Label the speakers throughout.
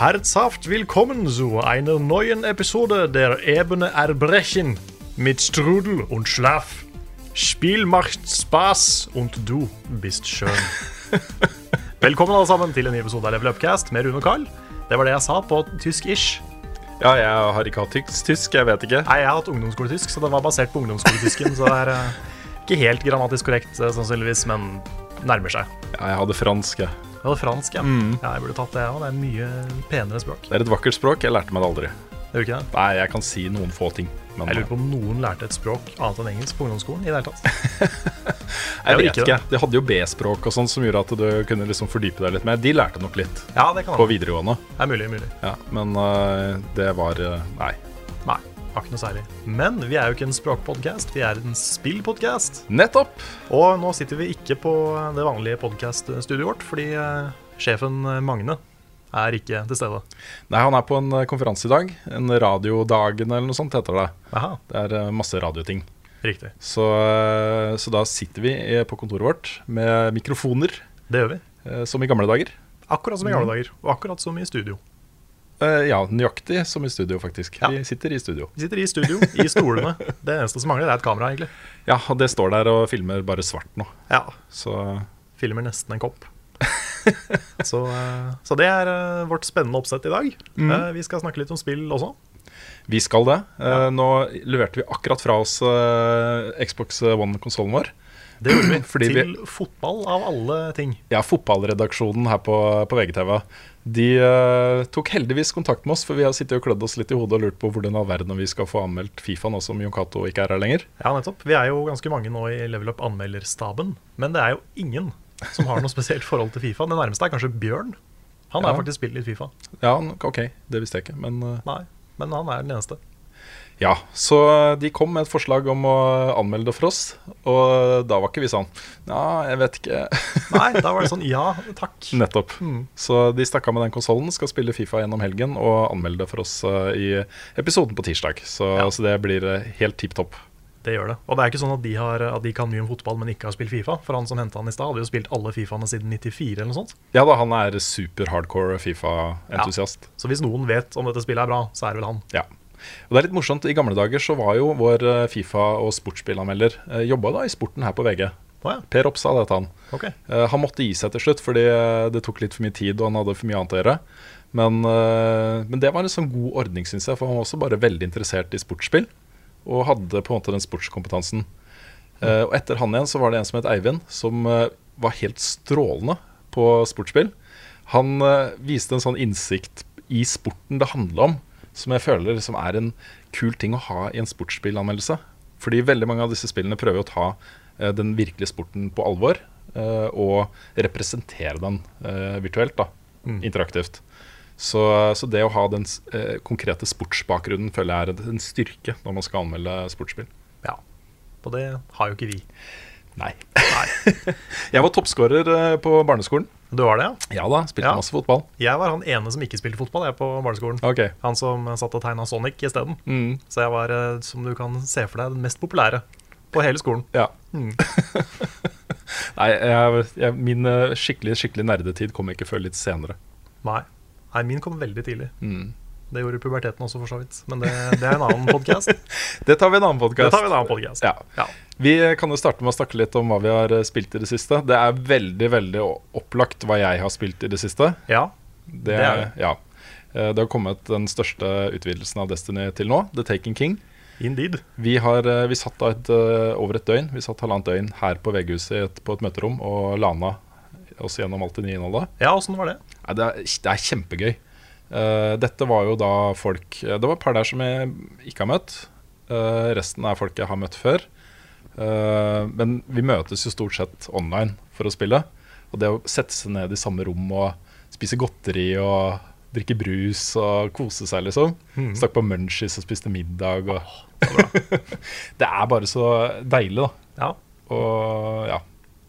Speaker 1: Herzhaft willkommen zu einer neuen Episode der Ebene Erbrechen mit Strudel und Schlaf. Spiel macht Spaß und du bist schön. Velkommen alle sammen til en ny episode av Level Upcast med Rune og Carl. Det var det jeg sa på tysk-ish.
Speaker 2: Ja, jeg har ikke hatt tyks- tysk, jeg vet ikke.
Speaker 1: Nei, jeg har hatt ungdomsskoletysk, så det var basert på ungdomsskoletysken. så det er eh, ikke helt grammatisk korrekt, eh, sannsynligvis, men nærmer seg.
Speaker 2: Ja, jeg hadde fransk, jeg.
Speaker 1: Det var fransk, ja. ja. Jeg burde tatt det òg. Det er mye penere språk.
Speaker 2: Det er et vakkert språk, jeg lærte meg det aldri.
Speaker 1: Det gjør ikke det?
Speaker 2: Nei, jeg kan si noen få ting. Men
Speaker 1: Jeg lurer
Speaker 2: jeg,
Speaker 1: på om noen lærte et språk annet enn engelsk på ungdomsskolen. i det hele tatt.
Speaker 2: vet
Speaker 1: vet
Speaker 2: ikke. De hadde jo B-språk og sånn som gjorde at du kunne liksom fordype deg litt mer. De lærte nok litt
Speaker 1: Ja, det kan
Speaker 2: på
Speaker 1: være.
Speaker 2: videregående.
Speaker 1: Det er mulig, mulig.
Speaker 2: Ja, men øh, det var øh, Nei.
Speaker 1: Nei, var ikke noe særlig. Men vi er jo ikke en språkpodcast, vi er en spillpodcast.
Speaker 2: Nettopp!
Speaker 1: Og nå sitter vi ikke på det vanlige podcaststudioet vårt, fordi eh, sjefen eh, Magne er ikke til stede.
Speaker 2: Nei, han er på en øh, konferanse i dag. En Radiodagen eller noe sånt heter det.
Speaker 1: Aha,
Speaker 2: Det er øh, masse radioting.
Speaker 1: riktig.
Speaker 2: Så, øh, så da sitter vi eh, på kontoret vårt med mikrofoner,
Speaker 1: Det gjør vi.
Speaker 2: eh, som i gamle dager.
Speaker 1: Akkurat som i gamle dager, og akkurat som i studio.
Speaker 2: Eh, ja, nøyaktig som i studio, faktisk.
Speaker 1: Ja.
Speaker 2: Vi sitter i studio.
Speaker 1: Vi sitter i studio, i stolene. Det eneste som mangler, er et kamera, egentlig.
Speaker 2: Ja, og det står der og filmer bare svart nå.
Speaker 1: Ja,
Speaker 2: Så
Speaker 1: filmer nesten en kopp. Så, eh, så det er eh, vårt spennende oppsett i dag.
Speaker 2: Mm.
Speaker 1: Eh, Vi skal snakke litt om spill også.
Speaker 2: vi skal det. Eh, Nå leverte vi akkurat fra oss eh, Xbox One-konsollen vår.
Speaker 1: Det gjorde vi.
Speaker 2: Fordi vi-
Speaker 1: Til fotball, av alle ting.
Speaker 2: Ja, fotballredaksjonen her på, på VGTV. De eh, tok heldigvis kontakt med oss, for vi har sittet og klødd oss litt i hodet og lurt på hvordan i all verden vi skal få anmeldt Fifa nå som Jon Cato ikke er her lenger.
Speaker 1: Ja, nettopp. Vi er jo ganske mange nå i Level Up anmelderstaben, men det er jo ingen som har noe spesielt forhold til Fifa. Det nærmeste er kanskje Bjørn. Han har
Speaker 2: Ja.
Speaker 1: faktisk spilt litt Fifa.
Speaker 2: Ja, OK, det visste jeg ikke, men eh,
Speaker 1: Nei, men han er den eneste.
Speaker 2: Ja, så eh, de kom med et forslag om å anmelde det for oss, og da var ikke vi sånn Ja, jeg vet ikke.
Speaker 1: Nei, da var det sånn ja, takk.
Speaker 2: Nettopp. Så de stakk av med den konsollen, skal spille Fifa gjennom helgen og anmelde det for oss eh, i episoden på tirsdag. Så, så det blir eh, helt tipp topp.
Speaker 1: Det gjør det. Og det er ikke sånn at de, har, at de kan mye om fotball, men ikke har spilt Fifa. For han som henta han i stad, hadde jo spilt alle Fifaene siden 94 eller noe sånt.
Speaker 2: Ja da, han er super hardcore Fifa-entusiast.
Speaker 1: Så hvis noen vet om dette spillet er bra, så er det vel han.
Speaker 2: Ja. Og det er litt morsomt, I gamle dager så var jo vår eh, Fifa- og sportsspillanmelder eh, jobba da i sporten her på VG.
Speaker 1: Å ja,
Speaker 2: Per Opsa het han.
Speaker 1: ok.
Speaker 2: Eh, Han måtte gi seg til slutt fordi eh, det tok litt for mye tid og han hadde for mye annet å gjøre. Men, eh, men det var en sånn god ordning, syns jeg, for han var også bare veldig interessert i sportsspill. Og hadde på en måte den sportskompetansen. Eh, Og etter han igjen så var det en som het Eivind, som eh, var helt strålende på sportsspill. Han eh, viste en sånn innsikt i sporten det handla om, som jeg føler liksom er en kul ting å ha i en sportsspillanmeldelse. Fordi veldig mange av disse spillene prøver å ta eh, den virkelige sporten på alvor. eh, og representere den eh, virtuelt, da. Interaktivt. Så, så det å ha den s- eh, konkrete sportsbakgrunnen føler jeg er en styrke når man skal anmelde sportsspill.
Speaker 1: Ja. Og det har jo ikke vi.
Speaker 2: Nei. Jeg var toppskårer eh, på barneskolen.
Speaker 1: Du var det, ja?
Speaker 2: Ja da, spilte
Speaker 1: Ja.
Speaker 2: masse fotball.
Speaker 1: Jeg var han ene som ikke spilte fotball jeg på barneskolen.
Speaker 2: Ok,
Speaker 1: Han som satt og tegna Sonic isteden.
Speaker 2: Mm.
Speaker 1: Så jeg var, eh, som du kan se for deg, den mest populære på hele skolen.
Speaker 2: ja.
Speaker 1: Mm.
Speaker 2: Nei, jeg, jeg, min eh, skikkelig skikkelig nerdetid kom ikke før litt senere.
Speaker 1: Nei. Nei, min kom veldig tidlig.
Speaker 2: Mm.
Speaker 1: Det gjorde puberteten også, for så vidt. Men det, det er en annen podkast.
Speaker 2: Det tar vi i en annen
Speaker 1: Det
Speaker 2: podkast.
Speaker 1: tar vi en annen podcast.
Speaker 2: Ja.
Speaker 1: Ja.
Speaker 2: Vi kan jo starte med å snakke litt om hva vi har eh, spilt i det siste. Det er veldig veldig o- opplagt hva jeg har spilt i det siste.
Speaker 1: ja.
Speaker 2: Det,
Speaker 1: er
Speaker 2: er, ja. Eh, det har kommet den største utvidelsen av Destiny til nå, The Taken King.
Speaker 1: Indeed.
Speaker 2: Vi, har, eh, vi satt da et, eh, over et døgn Vi satt halvannet døgn her på VG-huset i et- på et møterom og lana oss gjennom alt det nye innholdet.
Speaker 1: Ja, åssen var det?
Speaker 2: Nei, det, er, det er kjempegøy. Eh, dette var jo da folk eh, Det var et par der som jeg ikke har møtt. Eh, resten er folk jeg har møtt før. Eh, men vi møtes jo stort sett online for å spille. Og det å sette seg ned i samme rom og spise godteri og drikke brus og kose seg, liksom. Stakk på munchies og spiste middag og Det er bare så deilig, da.
Speaker 1: Ja.
Speaker 2: Og ja.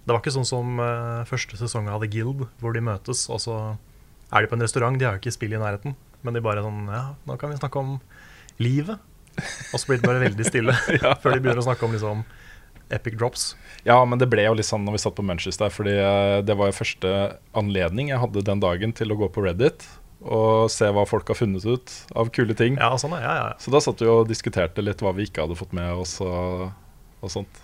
Speaker 1: Det var ikke sånn som eh, første sesong av The Guild, hvor de møtes, og så er de på en restaurant. De har jo ikke spill i nærheten, men de bare sånn Ja, nå kan vi snakke om livet. Og så blir det bare veldig stille før de begynner å snakke om liksom epic drops.
Speaker 2: Ja, men det ble jo litt sånn når vi satt på Munchies der, fordi eh, det var jo første anledning jeg hadde den dagen til å gå på Reddit og se hva folk har funnet ut av kule ting.
Speaker 1: Ja, sånn, ja, ja. ja.
Speaker 2: Så da satt vi og diskuterte litt hva vi ikke hadde fått med oss og, og sånt.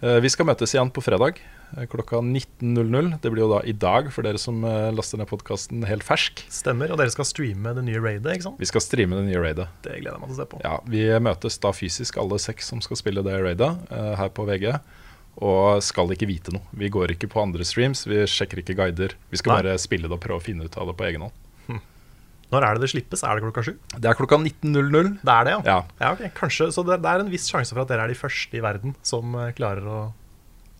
Speaker 2: Eh, Vi skal møtes igjen på fredag eh, klokka 19.00. Det blir jo da i dag for dere som eh, laster ned podkasten helt fersk.
Speaker 1: Stemmer. Og dere skal streame det nye raidet, ikke sant?
Speaker 2: Vi skal streame det nye raidet.
Speaker 1: Det gleder jeg meg til å se på.
Speaker 2: Ja, Vi møtes da fysisk, alle seks som skal spille det raidet eh, her på VG. Og skal ikke vite noe. Vi går ikke på andre streams, vi sjekker ikke guider. Vi skal
Speaker 1: Nei.
Speaker 2: bare spille det og prøve å finne ut av det på egen hånd.
Speaker 1: Når er det det slippes? Er det klokka sju?
Speaker 2: Det er klokka 19.00.
Speaker 1: Det er det, ja.
Speaker 2: Ja.
Speaker 1: ok. Kanskje, Så det, det er en viss sjanse for at dere er de første i verden som eh, klarer å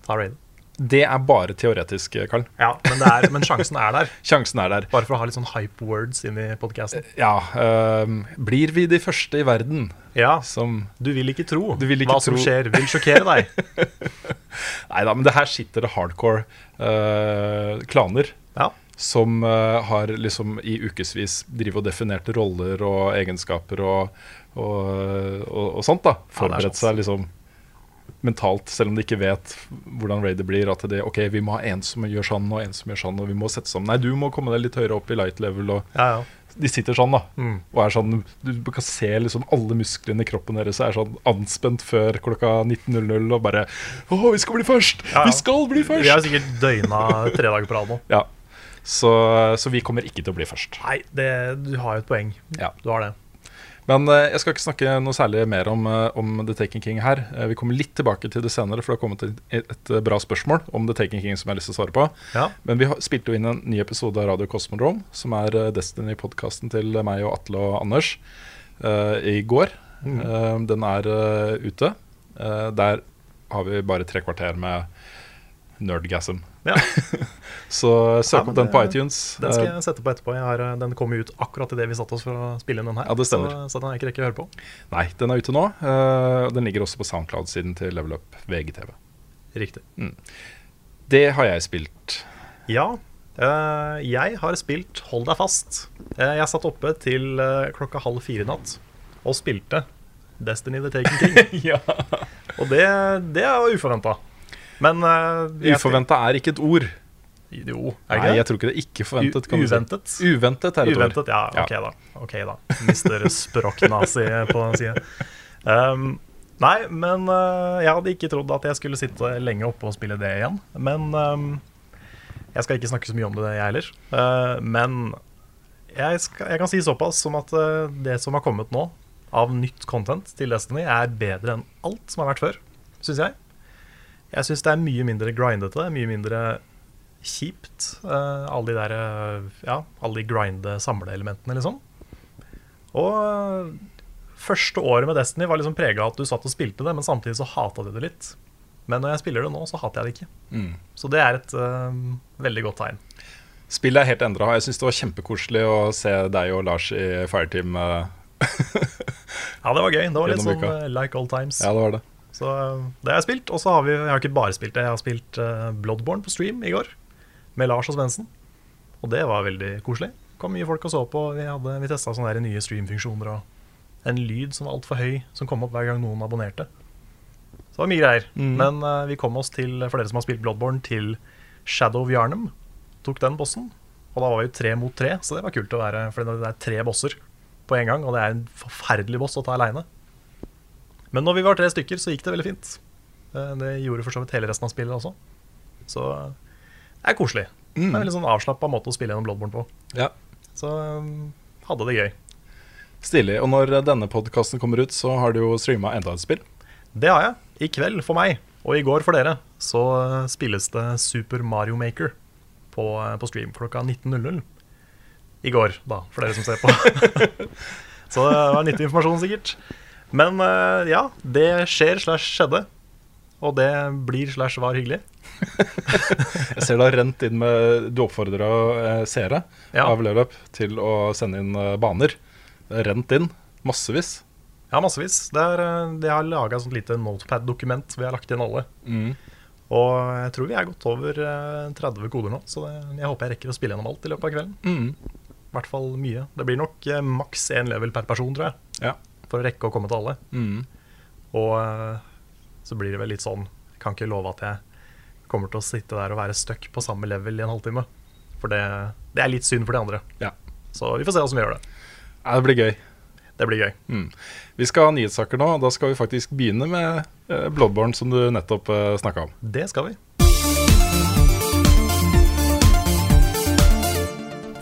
Speaker 1: ta raidet.
Speaker 2: Det er bare teoretisk, eh, Karl.
Speaker 1: Ja, men, det er, men sjansen er der.
Speaker 2: Sjansen er der.
Speaker 1: Bare for å ha litt sånn hype words inn i podkasten.
Speaker 2: Ja, ehm, blir vi de første i verden
Speaker 1: Ja,
Speaker 2: som
Speaker 1: du vil ikke tro
Speaker 2: Du vil ikke
Speaker 1: hva som
Speaker 2: tro.
Speaker 1: skjer. Vil sjokkere deg.
Speaker 2: Nei da, men det her sitter det hardcore eh, klaner
Speaker 1: Ja,
Speaker 2: som eh, har liksom i ukevis drivet og definert roller og egenskaper og, og, og, og sånt. da
Speaker 1: det er
Speaker 2: Forberedt
Speaker 1: sant.
Speaker 2: seg liksom mentalt, selv om de ikke vet hvordan raidet blir. At det, ok, vi må ha en som gjør sånn, og en som gjør sånn, og vi må sette sammen. Nei, du må komme deg litt høyere opp i light level. Og
Speaker 1: ja, ja.
Speaker 2: de sitter sånn, da.
Speaker 1: Mm.
Speaker 2: Og er sånn, du kan se liksom alle musklene i kroppen deres er sånn anspent før klokka 19.00 og bare Å, vi skal bli først!
Speaker 1: Ja, ja.
Speaker 2: Vi skal bli
Speaker 1: Vi har
Speaker 2: først!
Speaker 1: sikkert døgna tre dager på rad nå.
Speaker 2: Ja. Så, så vi kommer ikke til å bli først.
Speaker 1: Nei, det, du har jo et poeng.
Speaker 2: Ja.
Speaker 1: Du har det.
Speaker 2: Men eh, jeg skal ikke snakke noe særlig mer om, eh, om The Taken King her. Eh, vi kommer litt tilbake til det senere, for det har kommet et, et eh, bra spørsmål om The Taken King som jeg har lyst til å svare på.
Speaker 1: Ja.
Speaker 2: Men vi har, spilte jo inn en ny episode av Radio Cosmodrome, som er eh, Destiny-podkasten til meg og Atle og Anders, eh, i går.
Speaker 1: Mm.
Speaker 2: Eh, den er eh, ute. Eh, der har vi bare tre kvarter med nerdgasm.
Speaker 1: ja.
Speaker 2: Så eh, søk
Speaker 1: men
Speaker 2: opp den på
Speaker 1: det-
Speaker 2: iTunes.
Speaker 1: Den skal
Speaker 2: Eh,
Speaker 1: jeg sette på etterpå. Jeg har, eh, den kom jo ut akkurat idet vi satte oss for å spille inn den her.
Speaker 2: Ja, det
Speaker 1: så,
Speaker 2: stemmer.
Speaker 1: så den har jeg ikke rekket å høre på.
Speaker 2: Nei, den er ute nå. eh, og den ligger også på Soundcloud-siden til Level Up VGTV.
Speaker 1: Riktig.
Speaker 2: Det har jeg spilt.
Speaker 1: Ja, eh, jeg har spilt Hold deg fast. Eh, jeg satt oppe til eh, klokka halv fire i natt og spilte Destiny the Taken King. Og det, det var uforventa. Men eh, jeg-
Speaker 2: Uforventa er ikke et ord.
Speaker 1: Jo, er
Speaker 2: Nei,
Speaker 1: det ikke
Speaker 2: jeg
Speaker 1: det?
Speaker 2: tror ikke det. Ikke forventet.
Speaker 1: U-
Speaker 2: kan du si.
Speaker 1: uventet?
Speaker 2: Uventet er et
Speaker 1: Uventet,
Speaker 2: ord.
Speaker 1: ja. Ok, da. ok da Mister språknazi på den sida. Um, nei, men eh, jeg hadde ikke trodd at jeg skulle sitte lenge oppe og spille det igjen. Men um, jeg skal ikke snakke så mye om det, jeg heller. Eh, men jeg, skal, jeg kan si såpass som at eh, det som har kommet nå av nytt content til Destiny, er bedre enn alt som har vært før, syns jeg. Jeg syns det er mye mindre grindete, mye mindre kjipt. eh, alle de der eh, Ja, alle de grinde samleelementene, liksom. Og eh, første året med Destiny var liksom prega av at du satt og spilte det, men samtidig så hata du det litt. Men når jeg spiller det nå, så hater jeg det ikke.
Speaker 2: Mm.
Speaker 1: Så det er et eh, veldig godt tegn.
Speaker 2: Spillet er helt endra. Jeg syns det var kjempekoselig å se deg og Lars i Fireteam. eh,
Speaker 1: Ja, det var gøy. Det var litt
Speaker 2: Gjennom
Speaker 1: sånn
Speaker 2: uka.
Speaker 1: eh, like old times.
Speaker 2: Ja, det var det.
Speaker 1: Så eh, det har jeg spilt. Og så har vi Jeg har ikke bare spilt det, jeg har spilt eh, Bloodborne på stream i går med Lars og Svendsen. Og det var veldig koselig. Kom mye folk og så på. Vi, hadde- vi testa sånne der nye streamfunksjoner og en lyd som var altfor høy, som kom opp hver gang noen abonnerte. Så det var mye greier. Men eh, vi kom oss til, for dere som har spilt Bloodborne, til Shadow of Yarnum. Tok den bossen. Og da var vi jo tre mot tre, så det var kult å være. For det er tre bosser på en gang, og det er en forferdelig boss å ta aleine. Men når vi var tre stykker, så gikk det veldig fint. Eh, Det gjorde for så vidt hele resten av spillet også. Så eh, det er koselig. Det er en veldig sånn avslappa måte å spille gjennom Bloodborne på.
Speaker 2: Ja.
Speaker 1: Så eh, hadde det gøy.
Speaker 2: Stilig. Og når denne podkasten kommer ut, så har du jo streama enda et spill.
Speaker 1: Det har jeg. I kveld for meg, og i går for dere, så eh, spilles det Super Mario Maker på, eh, på stream klokka 19.00. I går, da, for dere som ser på. så eh, det var nyttig informasjon, sikkert. Men eh, ja, det skjer slash skjedde. Og det blir slash var hyggelig.
Speaker 2: Jeg ser det har rent inn med Du oppfordra eh, seere
Speaker 1: Ja.
Speaker 2: av Level Up til å sende inn eh, baner. Det har rent inn massevis.
Speaker 1: Ja, massevis. Det er, eh, de har laga et sånt lite notepad-dokument vi har lagt inn alle. Og jeg tror vi er godt over eh, 30 koder nå, så det, jeg håper jeg rekker å spille gjennom alt i løpet av kvelden. I hvert fall mye. Det blir nok eh, maks én level per person, tror jeg,
Speaker 2: Ja.
Speaker 1: for å rekke å komme til alle. Og eh, så blir det vel litt sånn Jeg kan ikke love at jeg kommer til å sitte der og være stuck på samme level i en halvtime. For det, det er litt synd for de andre.
Speaker 2: Ja.
Speaker 1: Så vi får se hvordan vi gjør det.
Speaker 2: Ja, det blir gøy.
Speaker 1: Det blir gøy.
Speaker 2: Vi skal ha nyhetssaker nå, og da skal vi faktisk begynne med eh, Bloodborne, som du nettopp eh, snakka om.
Speaker 1: Det skal vi.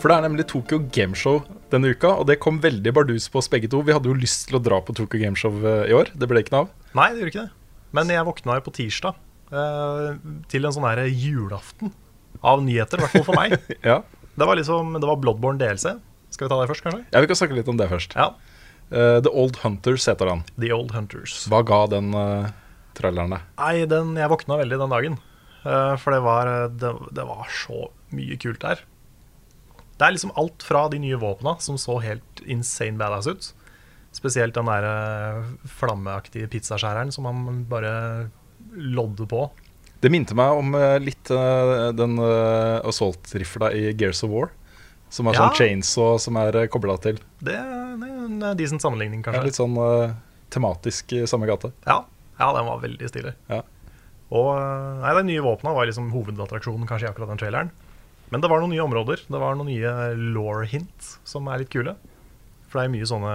Speaker 2: For det er nemlig Tokyo Gameshow denne uka, og det kom veldig bardus på oss begge to. Vi hadde jo lyst til å dra på Tokyo Gameshow eh, i år, det ble ikke noe av.
Speaker 1: Nei, det gjorde ikke det. Men jeg våkna jo på tirsdag eh, til en sånn her julaften av nyheter, i hvert fall for meg.
Speaker 2: Ja.
Speaker 1: Det var liksom, det var Bloodborne DLC. Skal vi ta det først, kanskje?
Speaker 2: ja, Vi kan snakke litt om det først.
Speaker 1: Ja.
Speaker 2: Eh, The Old Hunters heter den.
Speaker 1: The Old Hunters.
Speaker 2: Hva ga den eh, traileren deg?
Speaker 1: Nei, den, jeg våkna veldig den dagen. Eh, for det var, det, det var så mye kult der. Det er liksom alt fra de nye våpna, som så helt insane badass ut. Spesielt den der eh, flammeaktige pizzaskjæreren som han bare lodder på.
Speaker 2: Det minte meg om eh, litt eh, den eh, assault-rifla i Gears of War. Som er
Speaker 1: Ja.
Speaker 2: sånn chainsaw som er uh, kobla til.
Speaker 1: Det er en decent sammenligning,
Speaker 2: Det
Speaker 1: kanskje.
Speaker 2: er litt sånn eh, tematisk i samme gate.
Speaker 1: Ja, ja den var veldig stilig.
Speaker 2: Ja.
Speaker 1: Og eh, nei, De nye våpna var liksom hovedattraksjonen kanskje i akkurat den traileren. Men det var noen nye områder. Det var noen nye law hint som er litt kule. For det er mye sånne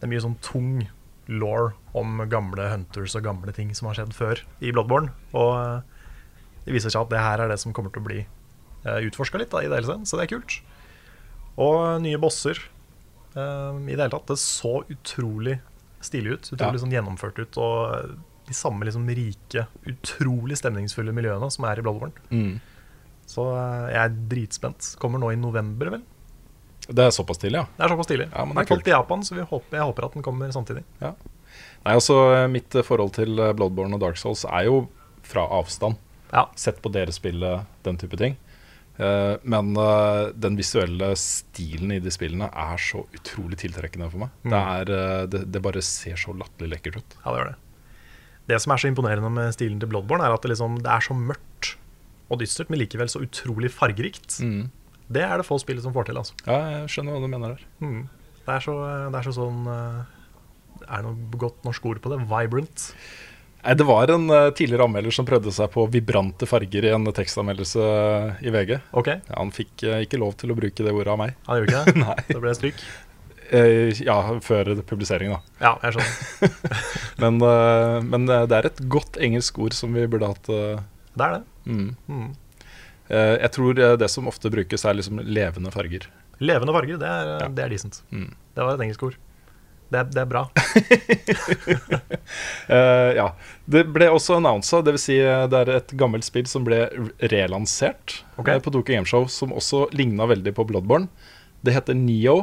Speaker 1: Det er mye sånn tung law om gamle hunters og gamle ting som har skjedd før i Bloodborne. Og eh, det viser seg at det her er det som kommer til å bli utforska litt da, i DLC-en, så det er kult. Og nye bosser. Eh, I det hele tatt. Det så utrolig stilig ut. Utrolig
Speaker 2: Ja.
Speaker 1: sånn gjennomført ut. Og de samme liksom rike, utrolig stemningsfulle miljøene som er i Bloodborne.
Speaker 2: Mm.
Speaker 1: Så eh, jeg er dritspent. Kommer nå i november, vel.
Speaker 2: Det er såpass tidlig, ja.
Speaker 1: Det er såpass tidlig.
Speaker 2: Ja, men det er
Speaker 1: Den
Speaker 2: kult.
Speaker 1: falt i Japan, så vi håper, jeg håper at den kommer samtidig.
Speaker 2: Ja. Nei, altså eh, Mitt eh, forhold til eh, Bloodborne og Dark Souls er jo fra avstand.
Speaker 1: Ja.
Speaker 2: Sett på dere spille den type ting. Eh, Men eh, den visuelle stilen i de spillene er så utrolig tiltrekkende for meg. Det, er, eh, det, det bare ser så latterlig lekkert ut.
Speaker 1: Ja, det gjør det. Det som er så imponerende med stilen til Bloodborne, er at det, liksom, det er så mørkt og dystert, men likevel så utrolig fargerikt.
Speaker 2: Mm.
Speaker 1: Det er det få spill som får til. altså.
Speaker 2: Ja, jeg skjønner hva du mener der.
Speaker 1: Det er så, det er så sånn eh, Er det noe godt norsk ord på det? Vibrant.
Speaker 2: Nei, Det var en eh, tidligere anmelder som prøvde seg på vibrante farger i en tekstanmeldelse eh, i VG.
Speaker 1: OK,
Speaker 2: Ja, han fikk eh, ikke lov til å bruke det ordet av meg.
Speaker 1: han gjorde ikke det?
Speaker 2: Nei.
Speaker 1: Det ble stryk?
Speaker 2: Eh, Ja, før publisering, da.
Speaker 1: Ja, jeg skjønner.
Speaker 2: Men, eh, men eh, det er et godt engelsk ord som vi burde hatt. eh. mm.
Speaker 1: Det Mm. er det.
Speaker 2: Eh, Jeg tror eh, det som ofte brukes, er liksom levende farger.
Speaker 1: Levende farger, det er, det er decent.
Speaker 2: Mm.
Speaker 1: Det var et engelsk ord. Det er, det er bra.
Speaker 2: Eh, Ja. Det ble også annonsa, dvs. Si eh, det er et gammelt spill som ble r- relansert
Speaker 1: Ok.
Speaker 2: eh, på Doke Gameshow, som også ligna veldig på Bloodborne. Det heter Nio.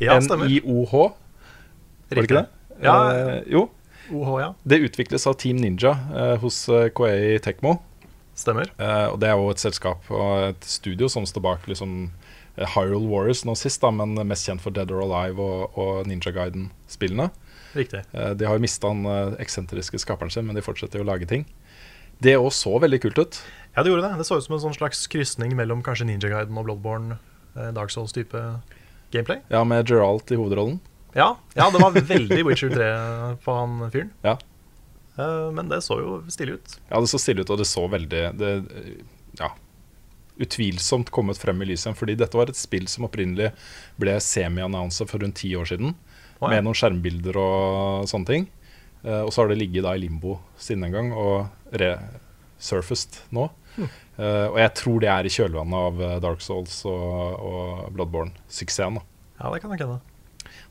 Speaker 1: Ja, stemmer.
Speaker 2: N-I-O-H. Var det ikke det?
Speaker 1: Ja,
Speaker 2: Eh, jo.
Speaker 1: OH, ja.
Speaker 2: Det utvikles av Team Ninja eh, hos KA Tekmo.
Speaker 1: Stemmer.
Speaker 2: Eh, og det er jo et selskap og et studio som står bak liksom, eh, Hyrule Warriors nå sist, da, men mest kjent for Dead or Alive og, og Ninja Guiden-spillene.
Speaker 1: Riktig.
Speaker 2: Eh, De har jo mista han eh, eksentriske skaperen sin, men de fortsetter jo å lage ting. Det òg så veldig kult ut.
Speaker 1: Ja, det gjorde det. Det så ut som en sånn slags krysning mellom kanskje Ninja Guiden og Bloodborne, eh, Dark Souls-type gameplay.
Speaker 2: Ja, med Geralt i hovedrollen.
Speaker 1: Ja, ja, det var veldig Witcher 3 på han fyren.
Speaker 2: Ja.
Speaker 1: Eh, Men det så jo stilig ut.
Speaker 2: Ja, det så stille ut, og det så veldig det, Ja. Utvilsomt kommet frem i lyset igjen, fordi dette var et spill som opprinnelig ble semi-annonsa for rundt ti år
Speaker 1: Å,
Speaker 2: siden,
Speaker 1: ja.
Speaker 2: med noen skjermbilder og sånne ting. Eh, og så har det ligget da i limbo siden den gang, og resurfaced nå.
Speaker 1: Hm.
Speaker 2: Eh, og jeg tror det er i kjølvannet av eh, Dark Souls og, og Bloodborne-suksessen. da.
Speaker 1: Ja, det kan nok hende.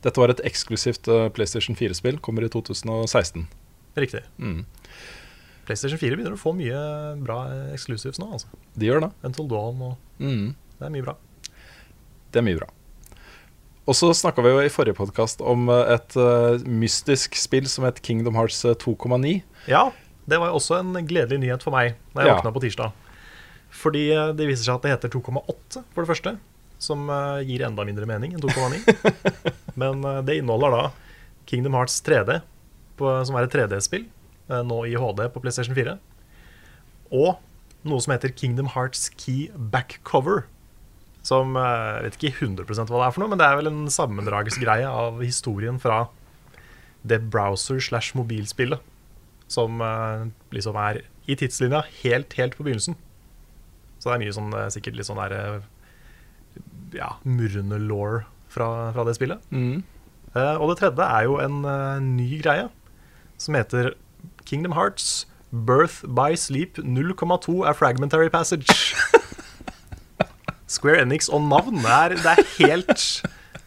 Speaker 2: Dette var et eksklusivt eh, PlayStation 4-spill, kommer i 2016.
Speaker 1: Riktig.
Speaker 2: Mm.
Speaker 1: PlayStation 4 begynner å få mye bra exclusives nå, altså.
Speaker 2: De gjør det.
Speaker 1: Until Dawn og
Speaker 2: Mm.
Speaker 1: Det er mye bra.
Speaker 2: Det er mye bra. Og så snakka vi jo i forrige podkast om eh, et eh, mystisk spill som het Kingdom Hearts eh, 2,9.
Speaker 1: Ja, det var jo også en gledelig nyhet for meg da jeg
Speaker 2: Ja.
Speaker 1: våkna på tirsdag. Fordi eh, det viser seg at det heter 2,8 for det første, som eh, gir enda mindre mening enn 2,9. Men eh, det inneholder da Kingdom Hearts 3D, på, som er et 3D-spill, eh, nå i HD på PlayStation 4. Og noe som heter Kingdom Hearts Key Backcover. Som eh, jeg vet ikke 100 hva det er for noe, men det er vel en sammendragsgreie av historien fra det browser slash mobilspillet som eh, liksom er i tidslinja helt, helt på begynnelsen. Så det er mye sånn, eh, sikkert litt sånn der eh, ja, murrende law fra, fra det spillet. Eh, og det tredje er jo en eh, ny greie som heter Kingdom Hearts Birth by Sleep 0,2 er Fragmentary Passage. Square Enix og navn er, det er helt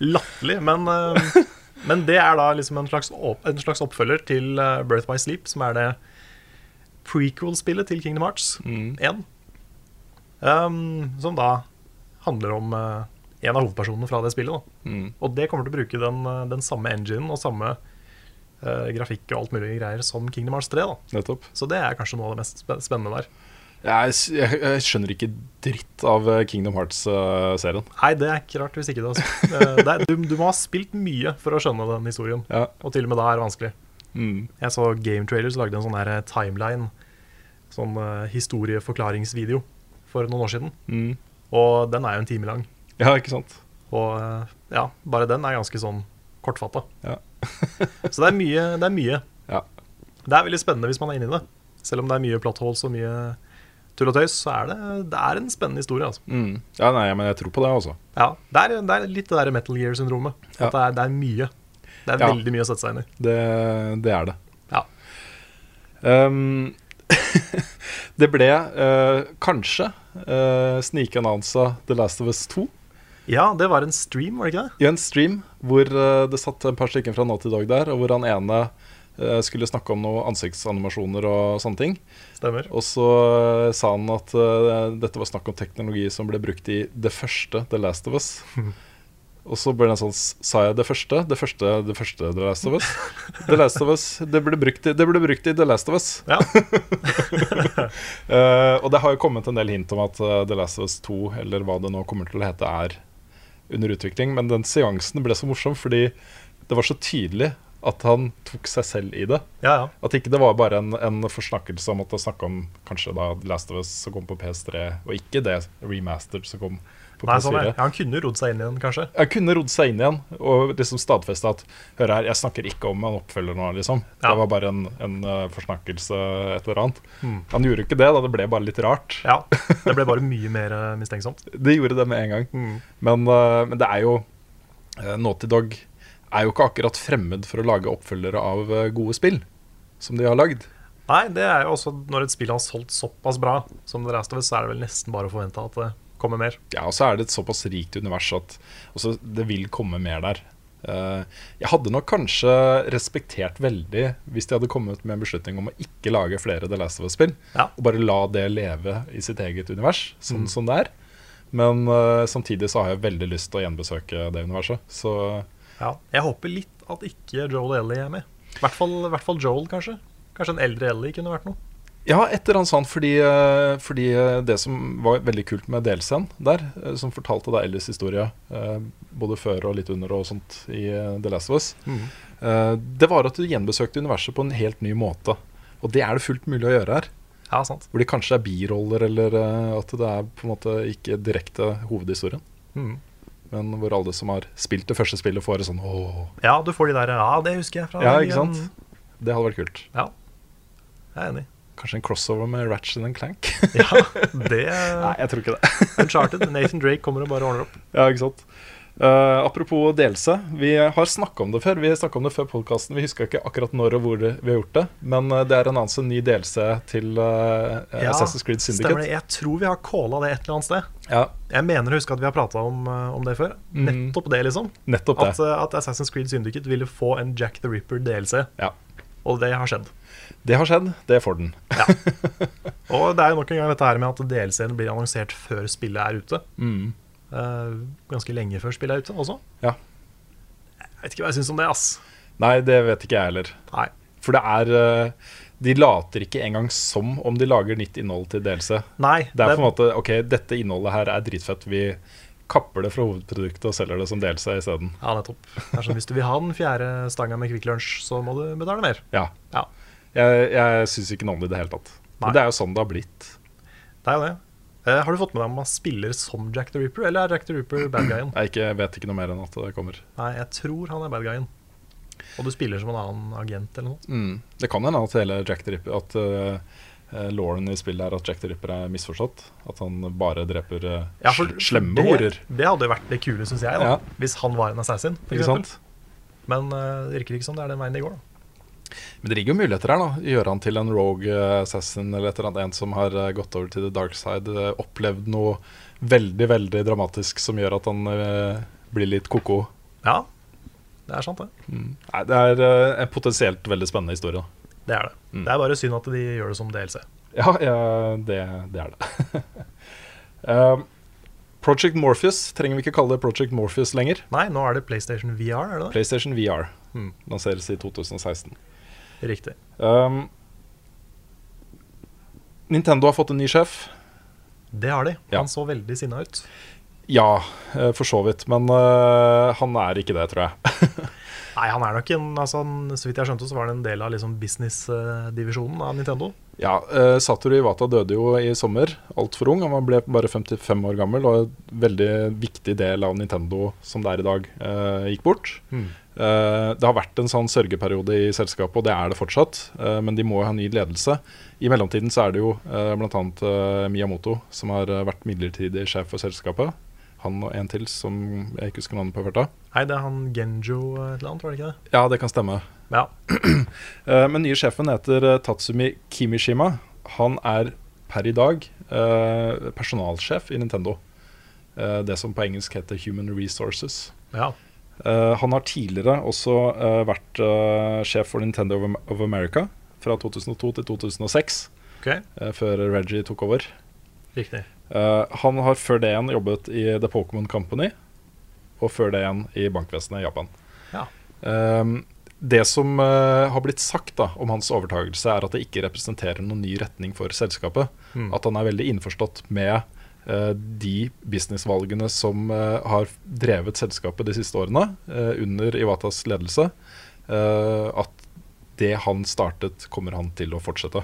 Speaker 1: latterlig, men eh, men det er da liksom en slags, opp, en slags oppfølger til eh, Birth by Sleep, som er det prequel-spillet til Kingdom Hearts 1. Um, som da handler om eh, en av hovedpersonene fra det spillet. Da. Og det kommer til å bruke den, eh, den samme enginen og samme eh, grafikk og alt mulig greier som Kingdom Hearts 3. Da.
Speaker 2: Nettopp.
Speaker 1: Så det er kanskje noe av det mest spen- spennende der.
Speaker 2: Jeg, s- jeg, jeg skjønner ikke dritt av eh, Kingdom eh, Hearts-serien.
Speaker 1: Nei, det er ikke rart hvis ikke det. Altså. Eh, det er, du, du må ha spilt mye for å skjønne den historien.
Speaker 2: Ja. mm.
Speaker 1: Og til og med da er det vanskelig. Jeg så Game Trailers lagde en sånn her timeline, sånn eh, historieforklaringsvideo, for noen år siden.
Speaker 2: Mm.
Speaker 1: Og den er jo en time lang.
Speaker 2: ja, ikke sant?
Speaker 1: Og eh, ja, bare den er ganske sånn kortfatta.
Speaker 2: Ja.
Speaker 1: Så det er mye. Det er mye.
Speaker 2: Ja.
Speaker 1: Det er veldig spennende hvis man er inne i det. Selv om det er mye plot holes og mye tull og tøys, så er det, det er en spennende historie. altså.
Speaker 2: Mm. ja, nei, men jeg tror på det, altså.
Speaker 1: Ja, det er, det er litt det der Metal Gear-syndromet.
Speaker 2: Ja.
Speaker 1: At det er, det er mye. Det er
Speaker 2: Ja.
Speaker 1: veldig mye å sette seg inn i.
Speaker 2: Det, det er det.
Speaker 1: Ja.
Speaker 2: Ehm, det ble eh, kanskje uh, snikannonsa The Last of Us 2.
Speaker 1: ja, det var en stream, var det ikke det?
Speaker 2: i en stream hvor eh, det satt et par stykker fra Naughty Dog der, og hvor han ene eh, skulle snakke om noen ansiktsanimasjoner og sånne ting.
Speaker 1: Stemmer.
Speaker 2: Og så eh, sa han at eh, dette var snakk om teknologi som ble brukt i det første The Last of Us. Og så ble det sånn s- Sa jeg det første? Det første, det første The Last of Us? The Last of Us, Det ble brukt i, det ble brukt i The Last of Us.
Speaker 1: Ja.
Speaker 2: Eh, og det har jo kommet en del hint om at eh, The Last of Us 2, eller hva det nå kommer til å hete, er under utvikling. Men den seansen ble så morsom fordi det var så tydelig at han tok seg selv i det.
Speaker 1: ja, ja.
Speaker 2: At ikke det var bare en, en forsnakkelse om at det snakka om kanskje da The Last of Us som kom på PS3, og ikke det remastered som kom på
Speaker 1: Nei,
Speaker 2: PS4.
Speaker 1: sånn er. det. Ja, han kunne jo rodd seg inn i den, kanskje.
Speaker 2: Jeg kunne rodd seg inn igjen og liksom stadfeste at Hør her, jeg snakker ikke om en oppfølger nå, liksom.
Speaker 1: Ja.
Speaker 2: Det var bare en, en eh, forsnakkelse, et eller annet. Han gjorde ikke det, da. Det ble bare litt rart.
Speaker 1: Mm. Ja, Det ble bare mye mer eh, mistenksomt.
Speaker 2: Det gjorde det med en gang. Men, eh, men det er jo eh, Naughty Dog er jo ikke akkurat fremmed for å lage oppfølgere av eh, gode spill, som de har lagd.
Speaker 1: Nei, det er jo også når et spill har solgt såpass bra som The Last of Us, så er det vel nesten bare å forvente at det kommer mer.
Speaker 2: Ja, og så er det et såpass rikt univers at også, det vil komme mer der. Eh, jeg hadde nok kanskje respektert veldig hvis de hadde kommet med en beslutning om å ikke lage flere The Last of Us-spill,
Speaker 1: Ja.
Speaker 2: og bare la det leve i sitt eget univers, sånn som det er. Men eh, samtidig så har jeg veldig lyst til å gjenbesøke det universet. Så
Speaker 1: Ja, Jeg håper litt at ikke Joel og Ellie er med. I hvert fall, i hvert fall Joel, kanskje. Kanskje en eldre Ellie kunne vært noe.
Speaker 2: Ja, et eller annet sånt, fordi, eh, fordi eh, det som var veldig kult med delscenen der, eh, som fortalte da Ellis historie, eh, både før og litt under og sånt i eh, The Last of Us,
Speaker 1: Mhm.
Speaker 2: eh, det var at du gjenbesøkte universet på en helt ny måte. Og det er det fullt mulig å gjøre her.
Speaker 1: Ja, sant.
Speaker 2: Hvor det kanskje er biroller, eller eh, at det er på en måte ikke direkte hovedhistorien.
Speaker 1: Mhm.
Speaker 2: Men hvor alle som har spilt det første spillet, får det sånn åh.
Speaker 1: Ja, du får de der Ja, det husker jeg. fra
Speaker 2: Ja,
Speaker 1: den
Speaker 2: ikke
Speaker 1: igjen.
Speaker 2: sant? Det hadde vært kult.
Speaker 1: Ja, jeg er enig.
Speaker 2: Kanskje en crossover med Ratchet and Clank?
Speaker 1: Ja, det
Speaker 2: Nei, jeg tror ikke det.
Speaker 1: Uncharted. Nathan Drake kommer og bare ordner opp.
Speaker 2: Ja, ikke sant. Eh, apropos delelse, vi har snakka om det før. Vi snakket om det før podcasten. Vi huska ikke akkurat når og hvor det, vi har gjort det. Men eh, det er en annen ny delelse til eh, Assassin's Creed
Speaker 1: stemmer det.
Speaker 2: Syndicate.
Speaker 1: Jeg tror vi har calla det et eller annet sted.
Speaker 2: Ja,
Speaker 1: Jeg mener å huske at vi har prata om, eh, om det før.
Speaker 2: Mhm.
Speaker 1: Nettopp det, liksom.
Speaker 2: nettopp
Speaker 1: At,
Speaker 2: det.
Speaker 1: eh, at Assassin's Creed Syndicate ville få en Jack the Ripper-DLC.
Speaker 2: Ja.
Speaker 1: Og det har skjedd.
Speaker 2: Det har skjedd. Det får den.
Speaker 1: Og det er jo nok en gang dette her med at DLC-en blir annonsert før spillet er ute.
Speaker 2: Mm.
Speaker 1: Eh, ganske lenge før spillet er ute også.
Speaker 2: Ja.
Speaker 1: Jeg vet ikke hva jeg syns om det, ass.
Speaker 2: Nei, det vet ikke jeg heller.
Speaker 1: Nei.
Speaker 2: For det er eh, De later ikke engang som om de lager nytt innhold til delelse.
Speaker 1: Nei,
Speaker 2: Det er på en måte OK, dette innholdet her er dritfett. Vi kapper det fra hovedproduktet og selger det som delelse isteden.
Speaker 1: Ja, nettopp. Det er sånn, hvis du vil ha den fjerde stanga med Kvikk Lunsj, så må du betale mer.
Speaker 2: Ja.
Speaker 1: Ja.
Speaker 2: Jeg, jeg syns ikke noe om det i det hele tatt.
Speaker 1: Nei.
Speaker 2: Men det er jo sånn det har blitt.
Speaker 1: Det er jo det. Eh, har du fått med deg om man spiller som Jack the Ripper, eller er Jack the Ripper bad guyen?
Speaker 2: Jeg ikke, vet ikke noe mer enn at det kommer.
Speaker 1: Nei, jeg tror han er bad guyen. Og du spiller som en annen agent eller noe.
Speaker 2: Det kan hende at hele Jack the Ripper At uh, Lauren i spillet er at Jack the Ripper er misforstått. At han bare dreper eh,
Speaker 1: for
Speaker 2: sl- slemme
Speaker 1: det,
Speaker 2: horer.
Speaker 1: Det hadde jo vært det kule, syns jeg, da.
Speaker 2: Ja.
Speaker 1: Hvis han var en assassin. For
Speaker 2: Ikke
Speaker 1: eksempel.
Speaker 2: sant?
Speaker 1: Men eh, det virker ikke som det er den veien det går, da.
Speaker 2: Men det ligger jo muligheter her. da Gjøre han til en rogue eh, assassin eller et eller annet. En som har eh, gått over til the dark side. eh, opplevd noe veldig, veldig dramatisk som gjør at han eh, blir litt ko-ko.
Speaker 1: Ja, det er sant, det.
Speaker 2: Nei, det er eh, en potensielt veldig spennende historie. da
Speaker 1: Det er det.
Speaker 2: Mm.
Speaker 1: Det er bare synd at de gjør det som DLC.
Speaker 2: Ja, ja det, det er det. um, Project Morpheus trenger vi ikke kalle det Project Morpheus lenger.
Speaker 1: Nei, nå er det PlayStation VR, er det det?
Speaker 2: PlayStation VR
Speaker 1: Mm.
Speaker 2: lanseres i 2016.
Speaker 1: Riktig.
Speaker 2: Um, Nintendo har fått en ny sjef.
Speaker 1: Det har de.
Speaker 2: Ja.
Speaker 1: Han så veldig sinna ut.
Speaker 2: Ja, eh, for så vidt. Men eh, han er ikke det, tror jeg.
Speaker 1: Nei, han er nok en, altså han, Så vidt jeg skjønte, så var han en del av liksom business-divisjonen av Nintendo.
Speaker 2: Ja, eh, Satoru Iwata døde jo i sommer, altfor ung. Han ble bare 55 år gammel, og en veldig viktig del av Nintendo som det er i dag, eh, gikk bort. Eh, det har vært en sånn sørgeperiode i selskapet, og det er det fortsatt. eh, men de må jo ha ny ledelse. I mellomtiden så er det jo uh, bl.a. Uh, Miyamoto, som har eh, vært midlertidig sjef for selskapet. Han og en til som jeg ikke husker navnet på i farta.
Speaker 1: Nei, det er han Genjo eh, et eller annet, var det ikke det?
Speaker 2: Ja, det kan stemme.
Speaker 1: Ja.
Speaker 2: Eh, Men nye sjefen heter eh, Tatsumi Kimishima. Han er per i dag eh, personalsjef i Nintendo. Eh, det som på engelsk heter Human Resources.
Speaker 1: ja.
Speaker 2: Eh, han har tidligere også eh, vært eh, sjef for Nintendo of Am- of America fra 2002 til 2006,
Speaker 1: Ok,
Speaker 2: eh, før Reggie tok over.
Speaker 1: riktig.
Speaker 2: Eh, han har før det igjen jobbet i The Pokémon Company, og før det igjen i bankvesenet i Japan.
Speaker 1: Ja.
Speaker 2: Ehm, det som eh, har blitt sagt da, om hans overtagelse, er at det ikke representerer noen ny retning for selskapet.
Speaker 1: Mm.
Speaker 2: At han er veldig innforstått med eh, de businessvalgene som eh, har drevet selskapet de siste årene, eh, under Iwatas ledelse. Eh, at det han startet, kommer han til å fortsette.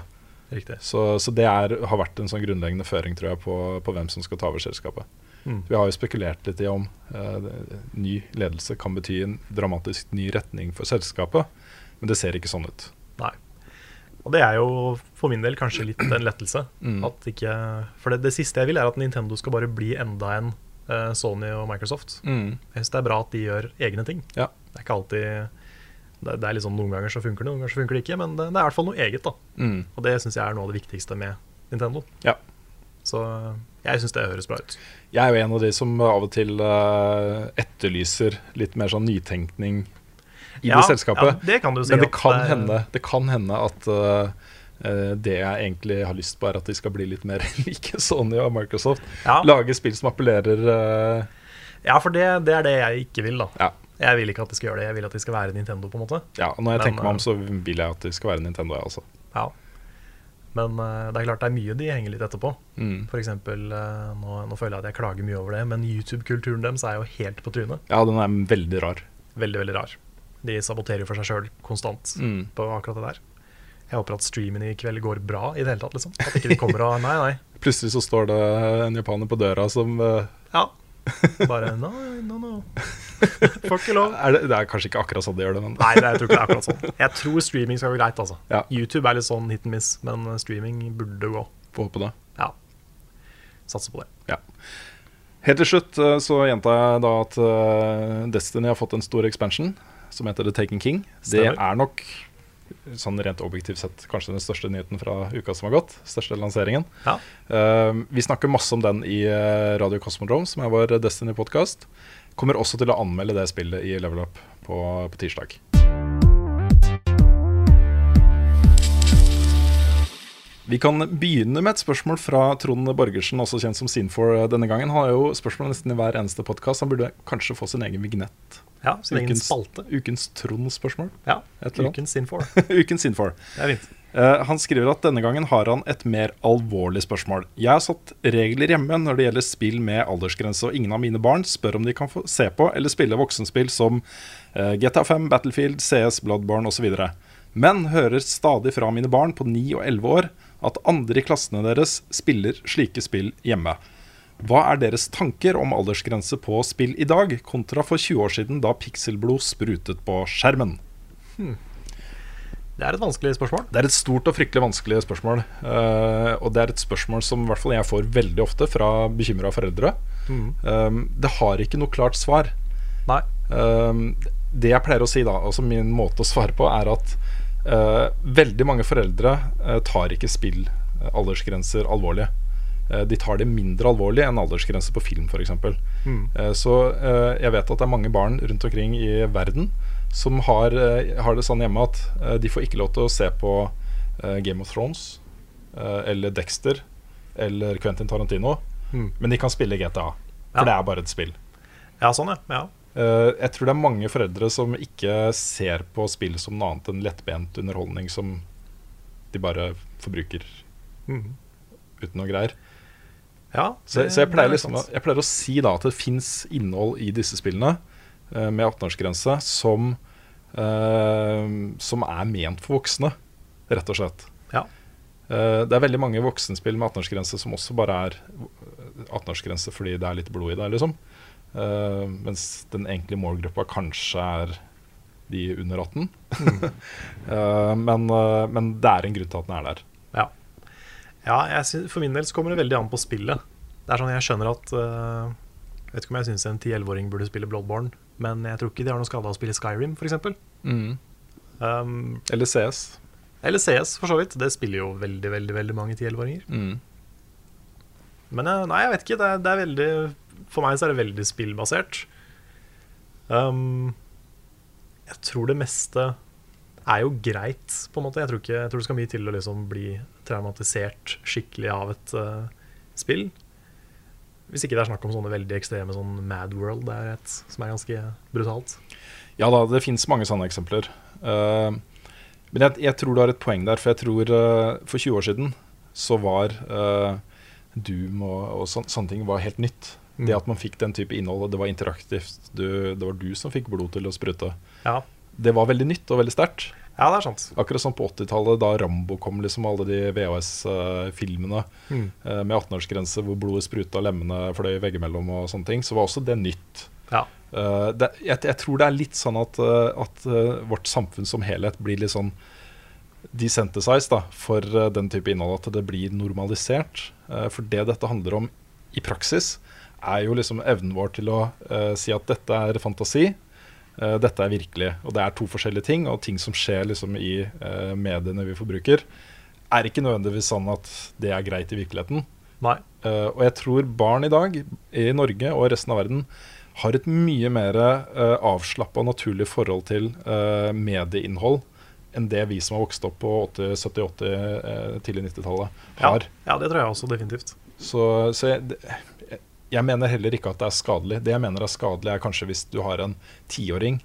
Speaker 1: riktig.
Speaker 2: Så, så det er, har vært en sånn grunnleggende føring tror jeg, på, på hvem som skal ta over selskapet.
Speaker 1: Mm.
Speaker 2: Vi har jo spekulert litt i om eh, det- ny ledelse kan bety en dramatisk ny retning for selskapet, men det ser ikke sånn ut.
Speaker 1: Nei. Og det er jo for min del kanskje litt en lettelse.
Speaker 2: Mm.
Speaker 1: At ikke, for det, det siste jeg vil, er at Nintendo skal bare bli enda en eh, Sony og Microsoft. Jeg syns det er bra at de gjør egne ting.
Speaker 2: Ja.
Speaker 1: Det er ikke alltid det, det er liksom Noen ganger så funker det, noen ganger så funker det ikke. Men det, det er i hvert fall noe eget. da
Speaker 2: Mm.
Speaker 1: Og det syns jeg er noe av det viktigste med Nintendo.
Speaker 2: Ja.
Speaker 1: Så jeg syns det høres bra ut.
Speaker 2: Jeg er jo en av de som av og til eh, etterlyser litt mer sånn nytenkning i
Speaker 1: Ja,
Speaker 2: det selskapet.
Speaker 1: Ja, det kan du si.
Speaker 2: Men det
Speaker 1: at
Speaker 2: kan,
Speaker 1: er-
Speaker 2: hende, det kan hende at eh, eh, det jeg egentlig har lyst på, er at de skal bli litt mer like Sony og Microsoft.
Speaker 1: Ja.
Speaker 2: Lage spill som appellerer eh,
Speaker 1: Ja, for det, det er det jeg ikke vil, da.
Speaker 2: Ja.
Speaker 1: Jeg vil ikke at de skal gjøre det. Jeg vil at de skal være Nintendo, på en måte.
Speaker 2: Ja, og
Speaker 1: Men, eh,
Speaker 2: når jeg altså. tenker meg om, så vil jeg at det skal være Nintendo, jeg også.
Speaker 1: Ja. Men eh, det er klart det er mye de henger litt etterpå.
Speaker 2: Mm.
Speaker 1: For eksempel, eh, nå, nå føler jeg at jeg klager mye over det, men YouTube-kulturen deres er jo helt på trynet.
Speaker 2: Ja, den er veldig rar.
Speaker 1: Veldig, veldig rar. De saboterer jo for seg sjøl konstant
Speaker 2: Mm.
Speaker 1: på akkurat det der. Jeg håper at streamen i kveld går bra i det hele tatt, liksom. At ikke de kommer og Nei, nei.
Speaker 2: Plutselig så står det en japaner på døra som eh,
Speaker 1: Ja. Bare no, no, no. Får ikke lov.
Speaker 2: er det, det er kanskje ikke akkurat sånn de gjør det, men
Speaker 1: Nei, det, jeg tror ikke det er akkurat sånn. Jeg tror streaming skal gå greit, altså.
Speaker 2: Ja.
Speaker 1: YouTube er litt sånn hit and miss, men streaming burde gå.
Speaker 2: får håpe det.
Speaker 1: Ja. Satser på det.
Speaker 2: Helt til slutt eh, så gjentar jeg da at eh, Destiny har fått en stor expansion som heter The Taken King. Det
Speaker 1: Stemmer.
Speaker 2: er nok sånn rent objektivt sett kanskje den største nyheten fra uka som har gått. Største lanseringen.
Speaker 1: Ja.
Speaker 2: Eh, vi snakker masse om den i eh, Radio Cosmodrome, som er vår Destiny-podkast. Kommer også til å anmelde det spillet i Level Up på, på tirsdag. Vi kan begynne med et spørsmål fra Trond Borgersen, også kjent som Sinfor eh, denne gangen. Han har jo spørsmål nesten i hver eneste podkast. Han burde kanskje få sin egen vignett.
Speaker 1: ja sin egen
Speaker 2: Ukens-
Speaker 1: spalte.
Speaker 2: Ukens Trond-spørsmål.
Speaker 1: Ja.
Speaker 2: Et eller annet.
Speaker 1: Ukens Sinfor.
Speaker 2: Ukens Sinfor.
Speaker 1: Det er fint.
Speaker 2: Eh, Han skriver at denne gangen har han et mer alvorlig spørsmål. Jeg har satt regler hjemme når det gjelder spill med aldersgrense, og ingen av mine barn spør om de kan få se på eller spille voksenspill som eh, GTA 5, Battlefield, CS, Bloodborne osv. Men hører stadig fra mine barn på 9 og 11 år at andre i klassene deres spiller slike spill hjemme. Hva er deres tanker om aldersgrense på spill i dag, kontra for 20 år siden da pikselblod sprutet på skjermen?
Speaker 1: Det er et vanskelig spørsmål.
Speaker 2: Det er et stort og fryktelig vanskelig spørsmål. eh, og det er et spørsmål som i hvert fall jeg får veldig ofte fra bekymra foreldre. Um, det har ikke noe klart svar.
Speaker 1: Nei.
Speaker 2: Um, det jeg pleier å si da, altså min måte å svare på, er at eh, veldig mange foreldre eh, tar ikke spill eh, aldersgrenser alvorlig. Eh, de tar det mindre alvorlig enn aldersgrenser på film, f.eks. Mm. så eh, jeg vet at det er mange barn rundt omkring i verden som har, eh, har det sånn hjemme at eh, de får ikke lov til å se på eh, Game of Thrones eh, eller Dexter eller Quentin Tarantino,
Speaker 1: Mm.
Speaker 2: men de kan spille GTA. For
Speaker 1: Ja.
Speaker 2: det er bare et spill.
Speaker 1: Ja, sånn, ja. ja.
Speaker 2: Eh, jeg tror det er mange foreldre som ikke ser på spill som noe annet enn lettbent underholdning som de bare forbruker
Speaker 1: Mhm.
Speaker 2: uten noe greier.
Speaker 1: ja
Speaker 2: Mm. Så,
Speaker 1: Eh,
Speaker 2: så jeg,
Speaker 1: det- det
Speaker 2: pleier
Speaker 1: er
Speaker 2: liksom, å-
Speaker 1: sant.
Speaker 2: jeg pleier å si da at det fins innhold i disse spillene eh, med 18-årsgrense som, eh, som er ment for voksne, rett og slett.
Speaker 1: Ja.
Speaker 2: Eh, det er veldig mange voksenspill med 18-årsgrense som også bare er 18-årsgrense fordi det er litt blod i det, liksom. Eh, mens den egentlige målgruppa kanskje er de under 18.
Speaker 1: Mm.
Speaker 2: Eh, men, eh, men det er en grunn til at den er der.
Speaker 1: Ja, ja jeg sy- for min del så kommer det veldig an på spillet. Det er sånn jeg skjønner at eh, Jeg vet ikke om jeg syns en 10-11-åring burde spille Bloodborne, men jeg tror ikke de har noe skade av å spille Skyrim, f.eks. Um,
Speaker 2: Eller CS.
Speaker 1: eller CS, for så vidt. Det spiller jo veldig, veldig veldig mange 10-11-åringer. Men eh, nei, jeg vet ikke. Det er, det er veldig For meg så er det veldig spillbasert. Um, jeg tror det meste er jo greit, på en måte. Jeg tror, ikke, jeg tror det skal mye til å liksom bli traumatisert skikkelig av et eh, spill. Hvis ikke det er snakk om sånne veldig ekstreme sånn Mad World, det er et som er ganske brutalt.
Speaker 2: Ja da, det finnes mange sånne eksempler. Eh, men jeg, jeg tror du har et poeng der, for jeg tror eh, for 20 år siden så var eh, Doom og, og sån, sånne ting var helt nytt.
Speaker 1: Mm.
Speaker 2: Det at man fikk den type innhold, og det var interaktivt, du, det var du som fikk blod til å sprute,
Speaker 1: Ja,
Speaker 2: det var veldig nytt og veldig sterkt.
Speaker 1: ja det er sant.
Speaker 2: Akkurat som på 80-tallet, da Rambo kom, liksom alle de VHS-filmene
Speaker 1: Mm.
Speaker 2: eh, med 18-årsgrense hvor blodet spruta, lemmene fløy veggimellom og sånne ting, så var også det nytt.
Speaker 1: Ja.
Speaker 2: Eh, det, jeg, jeg tror det er litt sånn at, eh, at eh, vårt samfunn som helhet blir litt sånn desensitized da, for eh, den type innhold, at det blir normalisert. Eh, for det dette handler om i praksis, er jo liksom evnen vår til å eh, si at dette er fantasi, eh, dette er virkelig. Og det er to forskjellige ting, og ting som skjer liksom i eh, mediene vi forbruker, er ikke nødvendigvis sånn at det er greit i virkeligheten.
Speaker 1: Nei.
Speaker 2: Eh, og jeg tror barn i dag, i Norge og resten av verden, har et mye mer uh, avslappa og naturlig forhold til eh, medieinnhold enn det vi som har vokst opp på 80-, 70-, 80-, uh, tidlig 90-tallet,
Speaker 1: Ja,
Speaker 2: har.
Speaker 1: ja, det tror jeg også definitivt.
Speaker 2: Så, så jeg, det- jeg mener heller ikke at det er skadelig. Det jeg mener er skadelig, er kanskje hvis du har en tiåring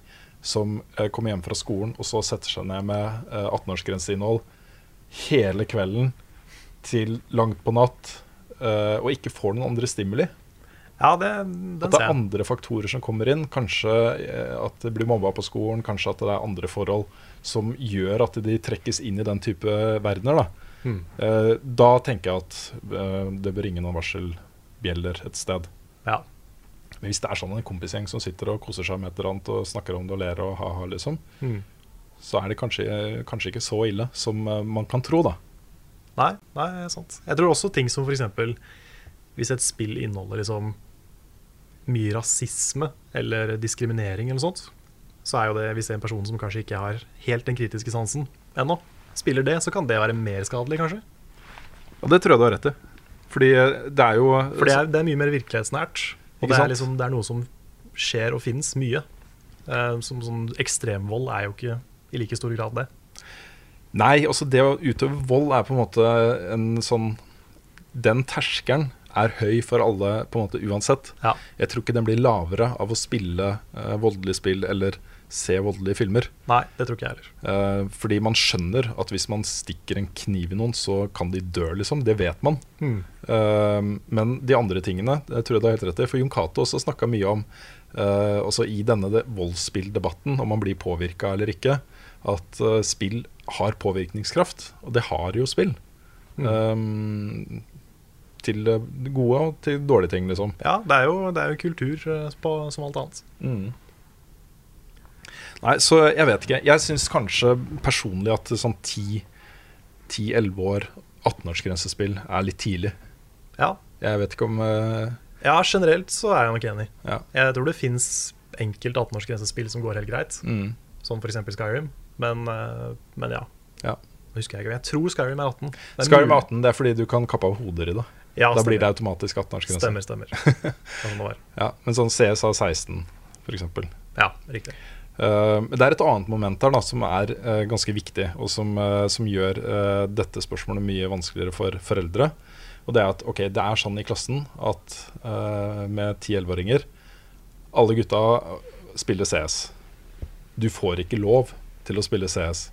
Speaker 2: som eh, kommer hjem fra skolen og så setter seg ned med eh, 18-årsgrenseinnhold hele kvelden til langt på natt eh, og ikke får noen andre stimuli.
Speaker 1: Ja, det, den
Speaker 2: At det
Speaker 1: ser
Speaker 2: er
Speaker 1: jeg.
Speaker 2: andre faktorer som kommer inn. Kanskje eh, at det blir mobba på skolen, kanskje at det er andre forhold som gjør at de trekkes inn i den type verdener. Da,
Speaker 1: Hmm.
Speaker 2: Eh, da tenker jeg at eh, det bør ringe noen varselbjeller et sted.
Speaker 1: Ja.
Speaker 2: Men hvis det er sånn en kompisgjeng som sitter og koser seg med et eller annet og snakker om det og ler og ha-ha, liksom,
Speaker 1: Hmm.
Speaker 2: så er det kanskje, kanskje ikke så ille som eh, man kan tro, da.
Speaker 1: Nei, nei, det er sant. Jeg tror også ting som for eksempel Hvis et spill inneholder liksom mye rasisme eller diskriminering eller sånt, så er jo det hvis det er en person som kanskje ikke har helt den kritiske sansen ennå, spiller det, så kan det være mer skadelig, kanskje.
Speaker 2: Og det tror jeg du har rett i. Fordi eh, det er jo
Speaker 1: For det er, det er mye mer virkelighetsnært. Og
Speaker 2: Ikke
Speaker 1: det
Speaker 2: sant?
Speaker 1: er, liksom, det er noe som skjer og finnes mye. Eh, som sånn ekstremvold er jo ikke i like stor grad det.
Speaker 2: Nei, altså det å utøve vold er på en måte en sånn Den terskelen er høy for alle på en måte uansett.
Speaker 1: Ja.
Speaker 2: Jeg tror ikke den blir lavere av å spille eh, voldelige spill eller se voldelige filmer.
Speaker 1: Nei, det tror ikke jeg heller.
Speaker 2: Eh, fordi man skjønner at hvis man stikker en kniv i noen, så kan de dø, liksom. Det vet man. Eh, men de andre tingene det tror jeg du har helt rett i. For Jon Cato også snakka mye om, eh, også i denne de- voldsspilldebatten, om man blir påvirka eller ikke, at eh, spill har påvirkningskraft. Og det har jo spill. Eh, til eh, gode og til dårlige ting, liksom.
Speaker 1: Ja, det er jo, det er jo kultur eh, på, som alt annet.
Speaker 2: Nei, så jeg vet ikke. Jeg syns kanskje personlig at sånn 10 10-11 år, 18-årsgrensespill er litt tidlig.
Speaker 1: Ja,
Speaker 2: Jeg vet ikke om eh,
Speaker 1: Ja, generelt så er jeg nok enig.
Speaker 2: Ja.
Speaker 1: Jeg tror det fins enkelte 18-årsgrensespill som går helt greit,
Speaker 2: mm,
Speaker 1: som f.eks. Skyrim, men, eh, men ja.
Speaker 2: Ja.
Speaker 1: Nå husker jeg ikke, men jeg tror Skyrim er 18. Det er
Speaker 2: Skyrim
Speaker 1: mulig-
Speaker 2: 18, det er fordi du kan kappe av hoder i det.
Speaker 1: Ja,
Speaker 2: da blir det
Speaker 1: stemmer.
Speaker 2: automatisk 18-årsgrense.
Speaker 1: Stemmer, stemmer. Det er sånn det var.
Speaker 2: Ja, men sånn CSA 16, f.eks.
Speaker 1: Ja, riktig.
Speaker 2: Uh, det er et annet moment her da, som er eh, ganske viktig, og som, eh, som gjør eh, dette spørsmålet mye vanskeligere for foreldre. Og det er at ok, det er sånn i klassen at eh, med 10-11-åringer Alle gutta spiller CS. Du får ikke lov til å spille CS.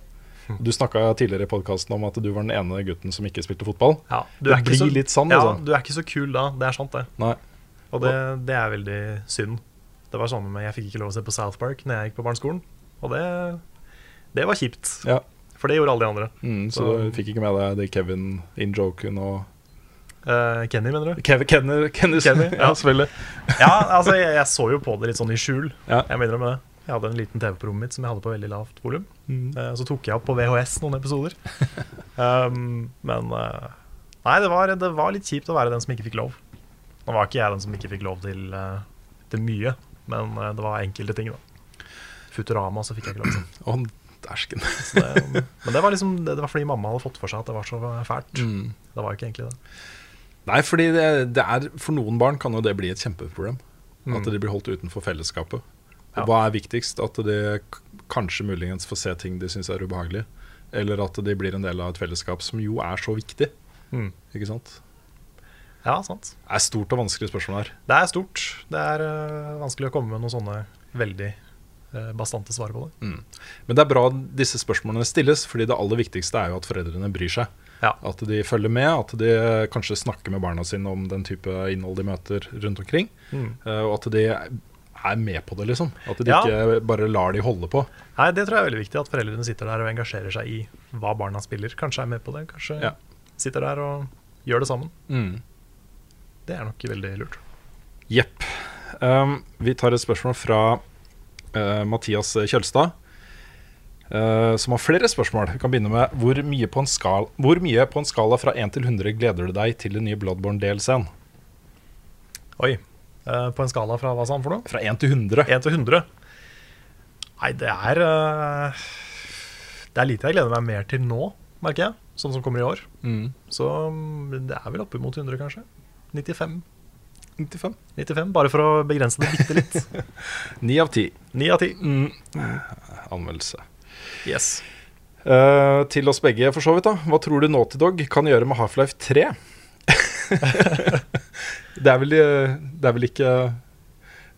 Speaker 2: Du snakka tidligere i podkasten om at du var den ene gutten som ikke spilte fotball.
Speaker 1: Ja,
Speaker 2: Det blir litt sånn,
Speaker 1: ja,
Speaker 2: altså.
Speaker 1: Du er ikke så kul da, det er sant, det.
Speaker 2: Nei.
Speaker 1: Og det, det er veldig synd. Det var samme med jeg fikk ikke lov å se på South Park når jeg gikk på barneskolen, og det, det var kjipt.
Speaker 2: Ja.
Speaker 1: For det gjorde alle de andre.
Speaker 2: Mm, så
Speaker 1: Så-
Speaker 2: du fikk ikke med deg det Kevin in-joken og
Speaker 1: Eh, Kenny, mener du?
Speaker 2: Kev, Kenner, Kenner,
Speaker 1: Kenny, ja.
Speaker 2: ja, selvfølgelig.
Speaker 1: Ja, altså jeg, jeg så jo på det litt sånn i skjul.
Speaker 2: Ja.
Speaker 1: Jeg må innrømme det. Jeg hadde en liten TV på rommet mitt som jeg hadde på veldig lavt volum.
Speaker 2: Mm.
Speaker 1: Eh, Så tok jeg opp på VHS noen episoder. Um, men eh, Nei, det var, det var litt kjipt å være den som ikke fikk lov. Nå var ikke jeg den som ikke fikk lov til, eh, til mye, men eh, det var enkelte ting, da. Futurama så fikk jeg ikke lov til.
Speaker 2: Å, dæsken.
Speaker 1: Så det, men det var liksom Det var fordi mamma hadde fått for seg at det var så fælt.
Speaker 2: Mm.
Speaker 1: Det var jo ikke egentlig det.
Speaker 2: Nei, fordi det, det er, for noen barn kan jo det bli et kjempeproblem. At de blir holdt utenfor fellesskapet. Og
Speaker 1: Mm. Ja.
Speaker 2: Hva er viktigst? At de k- kanskje muligens får se ting de syns er ubehagelig. Eller at de blir en del av et fellesskap som jo er så viktig.
Speaker 1: Mm.
Speaker 2: Ikke sant?
Speaker 1: Ja, sant.
Speaker 2: Det er stort og vanskelig spørsmål her.
Speaker 1: Det er stort. Det er øh, vanskelig å komme med noen sånne veldig øh, bastante svar på
Speaker 2: Mm.
Speaker 1: det.
Speaker 2: Men det er bra disse spørsmålene stilles, fordi det aller viktigste er jo at foreldrene bryr seg.
Speaker 1: Ja.
Speaker 2: At de følger med, at de kanskje snakker med barna sine om den type innhold de møter rundt omkring. eh, Og at de er med på det, liksom. At de
Speaker 1: Ja.
Speaker 2: ikke bare lar de holde på.
Speaker 1: Nei, Det tror jeg er veldig viktig, at foreldrene sitter der og engasjerer seg i hva barna spiller. Kanskje er med på det, kanskje
Speaker 2: Ja.
Speaker 1: sitter der og gjør det sammen.
Speaker 2: Mm.
Speaker 1: Det er nok veldig lurt.
Speaker 2: Jepp. Um, vi tar et spørsmål fra eh, Mathias Kjølstad, eh, som har flere spørsmål. Vi kan begynne med hvor mye på en, skal, hvor mye på en skala fra 1 til 100 gleder du deg til den nye Bloodborne-delscenen?
Speaker 1: Oi. øh, på en skala fra hva sa han for noe?
Speaker 2: Fra 1 til 100?
Speaker 1: 1 til 100? Nei, det er øh, Det er lite jeg gleder meg mer til nå, merker jeg. Sånn som kommer i år.
Speaker 2: Mm.
Speaker 1: Så mm, det er vel oppimot 100, kanskje. 95.
Speaker 2: 95.
Speaker 1: 95, Bare for å begrense det bitte litt.
Speaker 2: 9 av 10.
Speaker 1: 9 av 10.
Speaker 2: Anmeldelse.
Speaker 1: Yes.
Speaker 2: Eh, til oss begge, for så vidt. da Hva tror du Naughty Dog kan gjøre med Half-Life 3? det, er vel, eh, det er vel ikke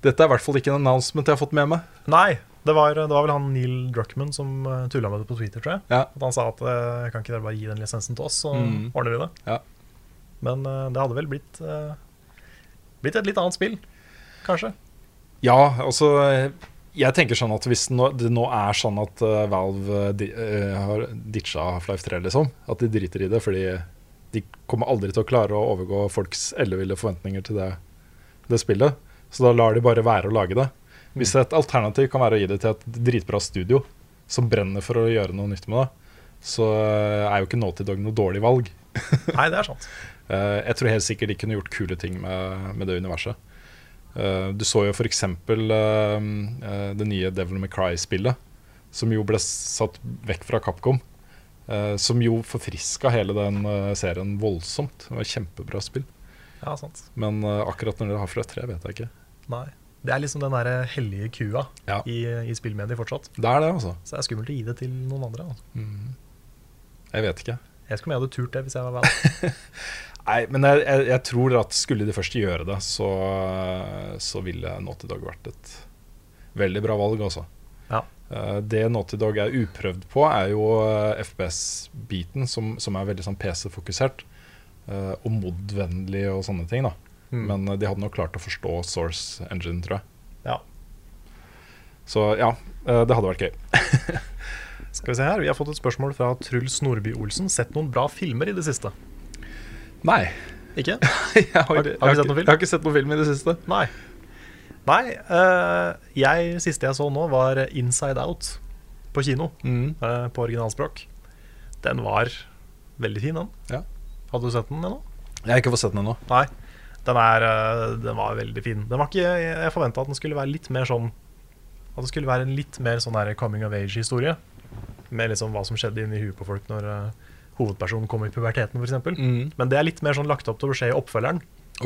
Speaker 2: Dette er i hvert fall ikke en announcement jeg har fått med meg.
Speaker 1: Nei, det var, det var vel han Neil Druckman som tulla med det på Twitter, tror jeg.
Speaker 2: Ja.
Speaker 1: At han sa at eh, kan ikke dere bare gi den lisensen til oss, så
Speaker 2: Mm.
Speaker 1: ordner vi det.
Speaker 2: Ja.
Speaker 1: Men eh, det hadde vel blitt, eh, blitt et litt annet spill, kanskje.
Speaker 2: Ja, altså Jeg tenker sånn at hvis nå, det nå er sånn at eh, Valve eh, di, eh, har ditcha Half-Life 3, liksom, at de driter i det fordi de kommer aldri til å klare å overgå folks elleville forventninger til det, det spillet. Så da lar de bare være å lage det. Hvis et alternativ kan være å gi det til et dritbra studio som brenner for å gjøre noe nytt med det, så eh, er jo ikke Naughty Dog noe dårlig valg.
Speaker 1: Nei, det er sant.
Speaker 2: Eh, jeg tror helt sikkert de kunne gjort kule ting med, med det universet. Eh, du så jo f.eks. Uh, det nye Devil May Cry-spillet, som jo ble satt vekk fra Capcom. eh, som jo forfriska hele den eh, serien voldsomt. Det var et Kjempebra spill.
Speaker 1: Ja, sant.
Speaker 2: Men eh, akkurat når det har fra tre, vet jeg ikke.
Speaker 1: Nei. Det er liksom den der hellige kua
Speaker 2: Ja.
Speaker 1: i, i spillmediet fortsatt.
Speaker 2: Det er det, altså.
Speaker 1: Så det er skummelt å gi det til noen andre. Altså.
Speaker 2: Jeg vet ikke.
Speaker 1: Jeg vet ikke om jeg hadde turt det hvis jeg var Valve.
Speaker 2: Nei, men jeg, jeg, jeg tror at skulle de først gjøre det, så, så ville Naughty Dog vært et veldig bra valg, altså.
Speaker 1: Ja.
Speaker 2: Eh, Det Naughty Dog er uprøvd på, er jo eh, FPS-biten, som, som er veldig sånn PC-fokusert. eh, Og mod-vennlig og sånne ting. da
Speaker 1: Mm.
Speaker 2: Men eh, de hadde nok klart å forstå Source Engine, tror jeg.
Speaker 1: Ja.
Speaker 2: Så ja, eh, det hadde vært gøy.
Speaker 1: Skal vi se her, Vi har fått et spørsmål fra Truls Nordby Olsen. Sett noen bra filmer i det siste?
Speaker 2: Nei.
Speaker 1: Ikke?
Speaker 2: Jeg har,
Speaker 1: Har- har du
Speaker 2: jeg har
Speaker 1: sett
Speaker 2: ikke-
Speaker 1: noen film?
Speaker 2: Jeg har ikke sett noen film i det siste.
Speaker 1: Nei. Nei, eh, jeg siste jeg så nå, var Inside Out på kino.
Speaker 2: Mm.
Speaker 1: eh, på originalspråk. Den var veldig fin, den.
Speaker 2: Ja.
Speaker 1: Hadde du sett den ennå?
Speaker 2: Jeg har ikke fått sett den ennå.
Speaker 1: Nei. Den, er, eh, den var veldig fin. Den var ikke, jeg jeg forventa at den skulle være litt mer sånn At det skulle være en litt mer sånn der coming of age-historie. Med liksom hva som skjedde inni huet på folk når eh, hovedpersonen kom i puberteten, f.eks.
Speaker 2: Mm.
Speaker 1: Men det er litt mer sånn lagt opp til å skje i oppfølgeren.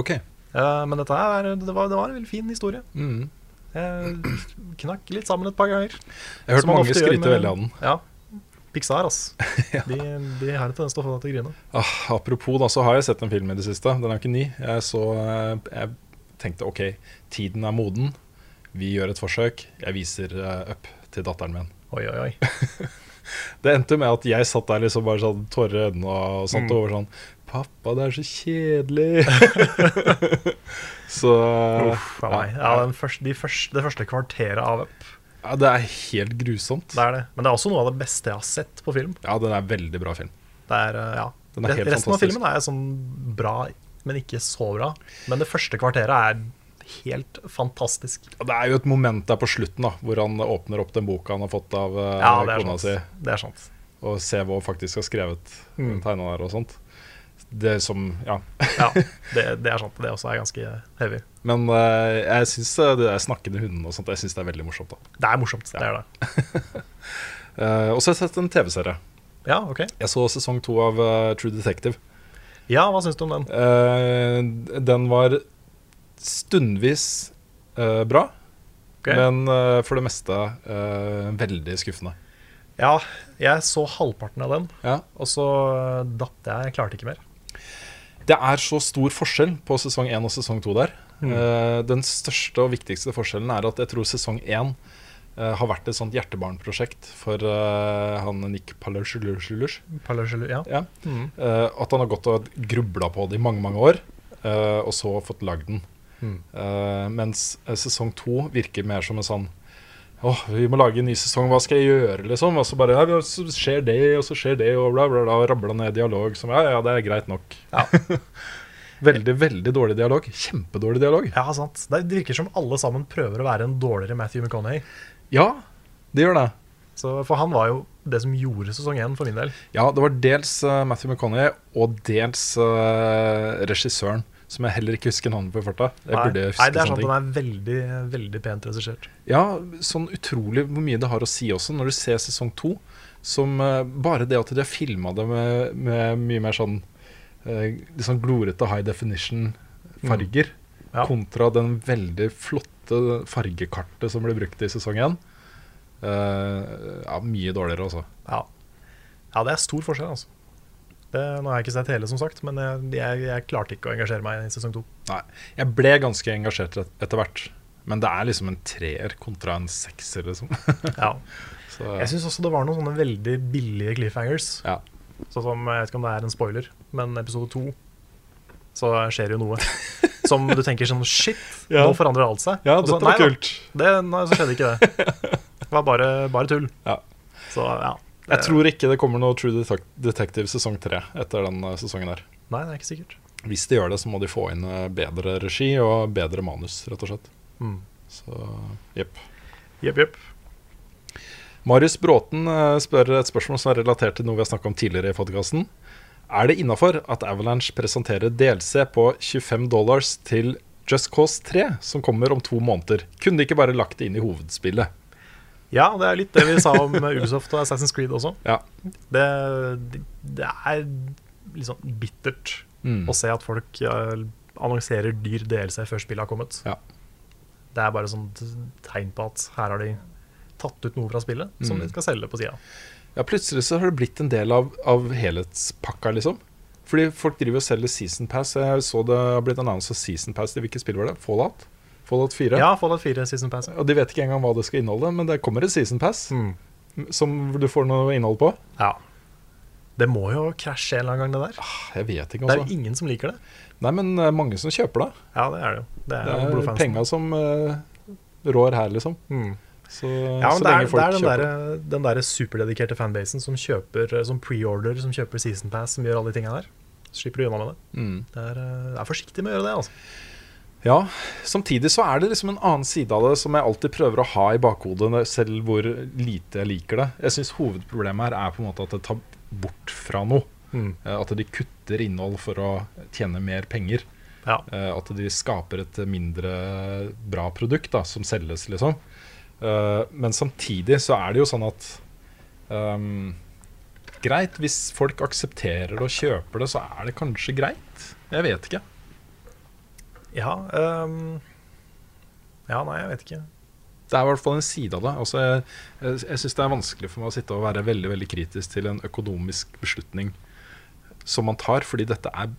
Speaker 2: Ok.
Speaker 1: Eh, men dette her, er- det var, det var en veldig fin historie.
Speaker 2: Mm.
Speaker 1: Jeg knakk litt sammen et par ganger.
Speaker 2: Jeg har hørt
Speaker 1: Som man
Speaker 2: mange
Speaker 1: ofte gjør
Speaker 2: skryte
Speaker 1: med-
Speaker 2: veldig av den.
Speaker 1: Ja. Pixar, ass.
Speaker 2: Ja.
Speaker 1: de, de har en tendens til å få deg til å grine.
Speaker 2: Ah, apropos, da, så har jeg sett en film i det siste. Den er jo ikke ny. Jeg, så, eh, jeg tenkte ok, tiden er moden. Vi gjør et forsøk. Jeg viser eh, Up til datteren min.
Speaker 1: Oi, oi, oi.
Speaker 2: Det endte med at jeg satt der liksom bare sånn tårer i øynene og
Speaker 1: Mm.
Speaker 2: sånt og var sånn Pappa, det er så kjedelig. så
Speaker 1: Uff, ja, nei. ja, den første, de første, det første kvarteret av Up.
Speaker 2: ja, det er helt grusomt.
Speaker 1: Det er det. Men det er også noe av det beste jeg har sett på film.
Speaker 2: Ja, den er veldig bra film.
Speaker 1: Det er, eh, ja.
Speaker 2: Den er helt
Speaker 1: Re- Resten av
Speaker 2: fantastisk.
Speaker 1: filmen er sånn bra, men ikke så bra. Men det første kvarteret er helt fantastisk.
Speaker 2: Og Det er jo et moment der på slutten da, hvor han åpner opp den boka han har fått av eh,
Speaker 1: Ja, det er sånn.
Speaker 2: kona
Speaker 1: sant.
Speaker 2: si.
Speaker 1: Det er sant.
Speaker 2: og se hva hun faktisk har skrevet mm. tegna der og sånt. Det som Ja.
Speaker 1: Ja, det, det er sant. Det også er ganske heavy.
Speaker 2: Men eh, jeg syns eh, det der snakkende hundene og sånt, jeg synes det er veldig morsomt. da
Speaker 1: Det er morsomt. Det er det.
Speaker 2: Eh, Og så har jeg sett en TV-serie.
Speaker 1: Ja, ok.
Speaker 2: Jeg så sesong to av eh, True Detective.
Speaker 1: Ja, hva syns du om den?
Speaker 2: Eh, den var stundvis eh, bra,
Speaker 1: Ok.
Speaker 2: men eh, for det meste eh, veldig skuffende.
Speaker 1: Ja, jeg så halvparten av den,
Speaker 2: Ja.
Speaker 1: og så eh, datt jeg. Jeg klarte ikke mer.
Speaker 2: Det er så stor forskjell på sesong 1 og sesong 2 der. Eh, den største og viktigste forskjellen er at jeg tror sesong 1 eh, har vært et sånt hjertebarnprosjekt for eh, han Nick Palerselus.
Speaker 1: Palais- Ja.
Speaker 2: Ja.
Speaker 1: Mm.
Speaker 2: Eh, at han har gått og grubla på det i mange, mange år, eh, og så fått lagd den.
Speaker 1: Mm.
Speaker 2: Eh, mens eh, sesong 2 virker mer som en sånn Åh, vi må lage en ny sesong, hva skal jeg gjøre, liksom? Og så bare ja, så skjer det, og så skjer det, og bla, bla, bla. Rabla ned dialog som ja, ja, det er greit nok. Veldig, veldig dårlig dialog. Kjempedårlig dialog.
Speaker 1: ja, sant. Det det virker som alle sammen prøver å være en dårligere Matthew McConaughey.
Speaker 2: Ja, det gjør det.
Speaker 1: Så, for han var jo det som gjorde sesong én for min del.
Speaker 2: Ja, det var dels eh, Matthew McConaughey og dels eh, regissøren, som jeg heller ikke husker navnet på i farta. Jeg
Speaker 1: Nei.
Speaker 2: burde
Speaker 1: Nei, det
Speaker 2: huske
Speaker 1: er sant,
Speaker 2: sånne ting.
Speaker 1: den er veldig, veldig pent regissert.
Speaker 2: Ja, sånn utrolig hvor mye det har å si også når du ser sesong to. Som eh, bare det at de har filma det med, med mye mer sånn eh, litt sånn glorete high Mm. definition-farger,
Speaker 1: Ja.
Speaker 2: kontra den veldig flotte fargekartet som ble brukt i sesong én. Eh, ja, mye dårligere, altså.
Speaker 1: Ja. ja, det er stor forskjell, altså. Det, nå har jeg ikke sett hele, som sagt, men jeg, jeg, jeg klarte ikke å engasjere meg i sesong to.
Speaker 2: Nei. Jeg ble ganske engasjert et- etter hvert. Men det er liksom en treer kontra en sekser, liksom.
Speaker 1: Ja.
Speaker 2: Så,
Speaker 1: Jeg syns også det var noen sånne veldig billige cliffhangers.
Speaker 2: ja.
Speaker 1: Sånn som, Jeg vet ikke om det er en spoiler, men episode to så skjer jo noe. Som du tenker sånn Shit,
Speaker 2: Ja.
Speaker 1: nå forandrer alt seg.
Speaker 2: Ja,
Speaker 1: Og så,
Speaker 2: dette var
Speaker 1: nei da,
Speaker 2: kult.
Speaker 1: Det, nei, så skjedde ikke det. Det var bare, bare tull.
Speaker 2: Ja.
Speaker 1: Så ja.
Speaker 2: Jeg tror ikke det kommer noe True Detec- Detective sesong tre etter den eh, sesongen her.
Speaker 1: Nei, det er ikke sikkert.
Speaker 2: Hvis de gjør det, så må de få inn eh, bedre regi og bedre manus, rett og slett.
Speaker 1: Mm.
Speaker 2: Så jepp.
Speaker 1: Jepp, jepp.
Speaker 2: Marius Bråten eh, spør et spørsmål som er relatert til noe vi har snakka om tidligere i podkasten. Er det innafor at Avalanche presenterer DLC på 25 dollars til Just Cause 3, som kommer om to måneder? Kunne de ikke bare lagt det inn i hovedspillet?
Speaker 1: Ja, det er litt det vi sa om Ubisoft og Assassin's Creed også.
Speaker 2: Ja.
Speaker 1: Det, det er litt sånn bittert
Speaker 2: Mm.
Speaker 1: å se at folk eh, annonserer dyr DLC før spillet har kommet.
Speaker 2: Ja.
Speaker 1: Det er bare sånn tegn på at her har de tatt ut noe fra spillet som
Speaker 2: Mm.
Speaker 1: de skal selge på sida.
Speaker 2: ja, plutselig så har det blitt en del av, av helhetspakka, liksom. Fordi folk driver og selger Season Pass. Jeg så det har blitt annonsa Season Pass til hvilket spill var det? Fallout? Fallout 4?
Speaker 1: Ja, Fallout 4 Season Pass.
Speaker 2: Og de vet ikke engang hva det skal inneholde, men det kommer et Season Pass
Speaker 1: Mm.
Speaker 2: som du får noe innhold på.
Speaker 1: Ja. Det må jo krasje en eller annen gang, det der.
Speaker 2: Jeg vet ikke,
Speaker 1: Det
Speaker 2: altså.
Speaker 1: er jo ingen som liker det.
Speaker 2: Nei, men eh, mange som kjøper det.
Speaker 1: Ja, det er det jo. Det er,
Speaker 2: Det
Speaker 1: jo
Speaker 2: er
Speaker 1: blodfansen.
Speaker 2: penga som eh, rår her, liksom.
Speaker 1: Mm.
Speaker 2: Så,
Speaker 1: Ja,
Speaker 2: så
Speaker 1: men det er,
Speaker 2: lenge folk
Speaker 1: det er den,
Speaker 2: kjøper
Speaker 1: derre- den derre superdedikerte fanbasen som kjøper eh, som preorder, som kjøper season pass, som gjør alle de tinga der. Så slipper du unna med det.
Speaker 2: det. Mm.
Speaker 1: Det er, eh, det er forsiktig med å gjøre det, altså.
Speaker 2: Ja, samtidig så er det liksom en annen side av det som jeg alltid prøver å ha i bakhodet, når- selv hvor lite jeg liker det. Jeg syns hovedproblemet her er på en måte at det tar bort fra noe.
Speaker 1: Mm.
Speaker 2: Eh, At de kutter innhold for å tjene mer penger.
Speaker 1: Ja.
Speaker 2: Eh, At de skaper et mindre bra produkt da, som selges, liksom. Eh, Men samtidig så er det jo sånn at ehm, Greit, hvis folk aksepterer det og kjøper det, så er det kanskje greit. Jeg vet ikke.
Speaker 1: Ja, ehm, ja, nei, jeg vet ikke.
Speaker 2: Det er i hvert fall en side av det. Altså, jeg jeg, jeg syns det er vanskelig for meg å sitte og være veldig veldig kritisk til en økonomisk beslutning som man tar, fordi dette er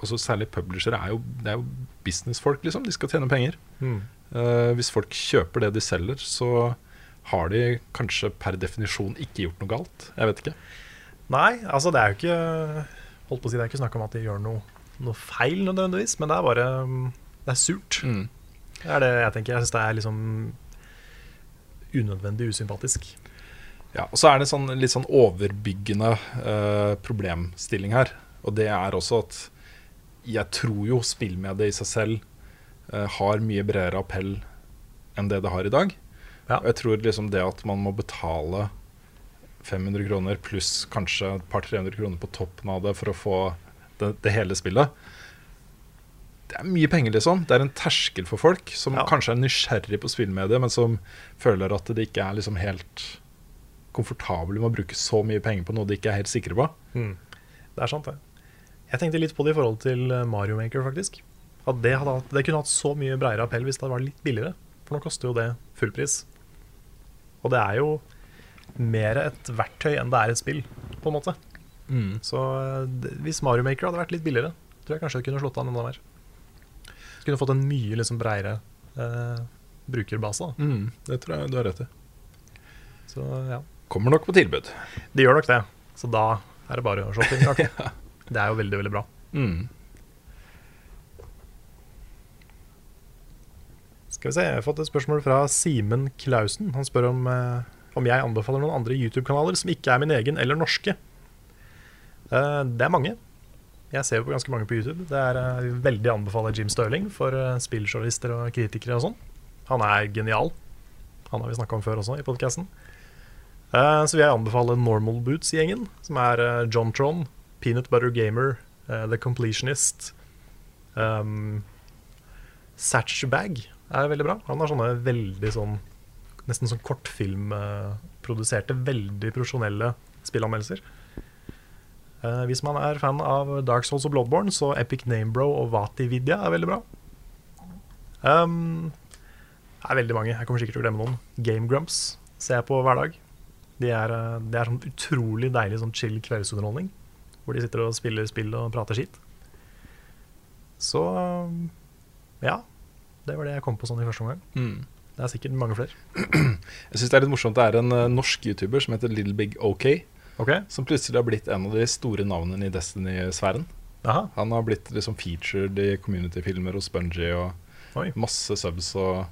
Speaker 2: altså Særlig publishere er jo, det er jo businessfolk, liksom. De skal tjene penger.
Speaker 1: Mm.
Speaker 2: Eh, hvis folk kjøper det de selger, så har de kanskje per definisjon ikke gjort noe galt. Jeg vet ikke.
Speaker 1: Nei, altså det er jo ikke Holdt på å si, det er ikke snakk om at de gjør noe, noe feil nødvendigvis, men det er bare mm, Det er surt.
Speaker 2: Mm.
Speaker 1: Det er det jeg tenker. Jeg syns det er liksom unødvendig usympatisk.
Speaker 2: Ja, og Så er det en sånn, litt sånn overbyggende eh, problemstilling her. Og det er også at jeg tror jo spillmediet i seg selv eh, har mye bredere appell enn det det har i dag.
Speaker 1: Ja.
Speaker 2: Og jeg tror liksom det at man må betale 500 kroner pluss kanskje et par 300 kroner på toppen av det for å få det, det hele spillet Det er mye penger, liksom. Det er en terskel for folk som
Speaker 1: Ja.
Speaker 2: kanskje er nysgjerrig på spillmediet, men som føler at det ikke er liksom helt komfortable med å bruke så mye penger på noe de ikke er helt sikre på.
Speaker 1: Det er sant, det. Jeg tenkte litt på det i forhold til eh, Mario Maker, faktisk. At det, hadde, hatt- det kunne hatt så mye bredere appell hvis det var litt billigere. For nå koster jo det full pris. Og det er jo mer et verktøy enn det er et spill, på en måte.
Speaker 2: Mm.
Speaker 1: Så eh, det- hvis Mario Maker hadde vært litt billigere, tror jeg kanskje det kunne slått an enda mer. Kunne fått en mye liksom bredere eh, brukerbase. Da.
Speaker 2: Mm, Det tror jeg du har rett i.
Speaker 1: Så ja,
Speaker 2: Kommer nok på tilbud.
Speaker 1: de gjør nok det. Så da er det bare å shoppe inn. Jakob. Det er jo veldig, veldig bra. Skal vi se, Jeg har fått et spørsmål fra Simen Klausen. Han spør om, eh, om jeg anbefaler noen andre YouTube-kanaler som ikke er min egen eller norske. Eh, det er mange. Jeg ser jo på ganske mange på YouTube. Det er eh, veldig anbefaler Jim Stirling for eh, spilljournalister og kritikere og sånn. Han er genial. Han har vi snakka om før også i podkasten. Eh, Så vil jeg anbefale Normal Boots-gjengen, som er eh, John Tron, Peanut Butter Gamer, eh, The Completionist um, Satchbag er veldig bra. Han har sånne veldig sånn Nesten sånn kortfilmproduserte, veldig profesjonelle spillanmeldelser. Eh, hvis man er fan av Dark Souls og Bloodborne, så Epic Namebro og Vati Vidya er veldig bra. Um, det er veldig mange. Jeg kommer sikkert til å glemme noen. Game Grumps ser jeg på hver dag. Det er, eh, de er sånn utrolig deilig sånn chill kveldsunderholdning. Hvor de sitter og spiller spill og prater skitt. Så eh, ja. Det var det jeg kom på sånn i første omgang. Det er sikkert mange flere.
Speaker 2: Jeg syns det er litt morsomt. Det er en eh, norsk YouTuber som heter Little Big OK,
Speaker 1: Ok?
Speaker 2: som plutselig har blitt en av de store navnene i Destiny-sfæren.
Speaker 1: Aha.
Speaker 2: Han har blitt liksom featured i community-filmer hos Bungie og
Speaker 1: Oi.
Speaker 2: masse subs og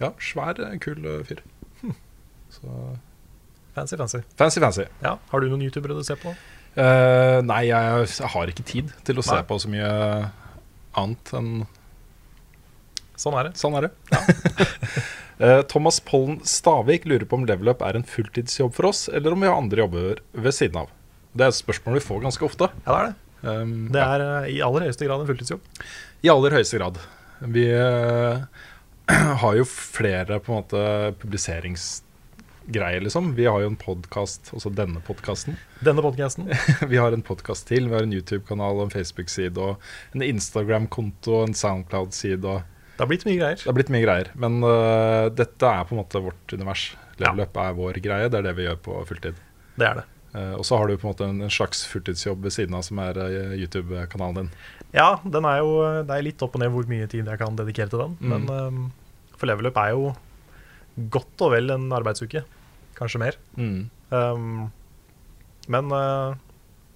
Speaker 2: Ja, svær, eh, kul eh, fyr. Så
Speaker 1: Fancy, fancy.
Speaker 2: fancy, fancy.
Speaker 1: Ja, Har du noen youtubere du ser på?
Speaker 2: Eh, nei, jeg, jeg har ikke tid til å se
Speaker 1: Nei.
Speaker 2: på så mye annet enn
Speaker 1: Sånn er det.
Speaker 2: Sånn er det. Eh, Thomas Pollen Stavik lurer på om level up er en fulltidsjobb for oss, eller om vi har andre jobber ved siden av. Det er et spørsmål vi får ganske ofte.
Speaker 1: Ja, det er det.
Speaker 2: Um,
Speaker 1: Det er eh, i aller høyeste grad en fulltidsjobb.
Speaker 2: I aller høyeste grad. Vi eh, har jo flere på en måte publiseringsgreier, liksom. Vi har jo en podkast, også denne podkasten.
Speaker 1: Denne podcasten
Speaker 2: Vi har en podkast til, vi har en YouTube-kanal, en Facebook-side, og en Instagram-konto, og en Soundcloud-side. og
Speaker 1: Det har blitt mye greier.
Speaker 2: Det har blitt mye greier. Men øh, dette er på en måte vårt univers. Level
Speaker 1: Ja.
Speaker 2: up er vår greie, det er det vi gjør på fulltid.
Speaker 1: Det er det.
Speaker 2: Eh, og så har du på en måte en, en slags fulltidsjobb ved siden av, som er eh, YouTube-kanalen din.
Speaker 1: Ja, den er jo, eh, det er litt opp og ned hvor mye tid jeg kan dedikere til den. Men ehm, for level up er jo godt og vel en arbeidsuke. Kanskje mer. Ehm, men eh,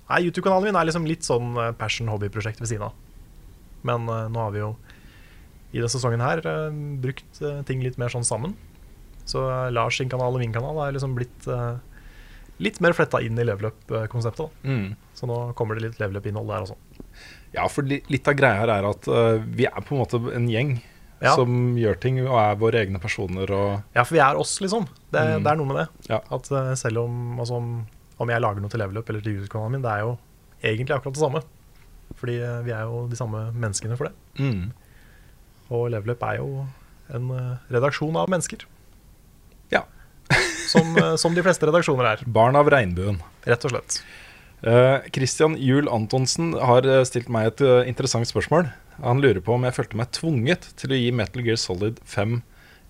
Speaker 1: nei, YouTube-kanalen min er liksom litt sånn eh, passion-hobbyprosjekt ved siden av. Men eh, nå har vi jo i denne sesongen her eh, brukt eh, ting litt mer sånn sammen. Så eh, Lars sin kanal og min kanal er liksom blitt eh, litt mer fletta inn i level up-konseptet. da. Så nå kommer det litt level up-innhold der også.
Speaker 2: Ja, for li litt av greia her er at eh, vi er på en måte en gjeng
Speaker 1: Ja.
Speaker 2: som gjør ting og er våre egne personer og
Speaker 1: Ja, for vi er oss, liksom. Det, det er noe med det.
Speaker 2: Ja.
Speaker 1: At eh, selv om, altså, om, om jeg lager noe til level up eller til YouTube-kanalen min, det er jo egentlig akkurat det samme. Fordi eh, vi er jo de samme menneskene for det. Og level up er jo en eh, redaksjon av mennesker.
Speaker 2: Ja.
Speaker 1: Som, eh, som de fleste redaksjoner er,
Speaker 2: barn av regnbuen.
Speaker 1: rett og slett.
Speaker 2: Eh, Christian Juel Antonsen har eh, stilt meg et eh, interessant spørsmål. Han lurer på om jeg følte meg tvunget til å gi Metal Gear Solid 5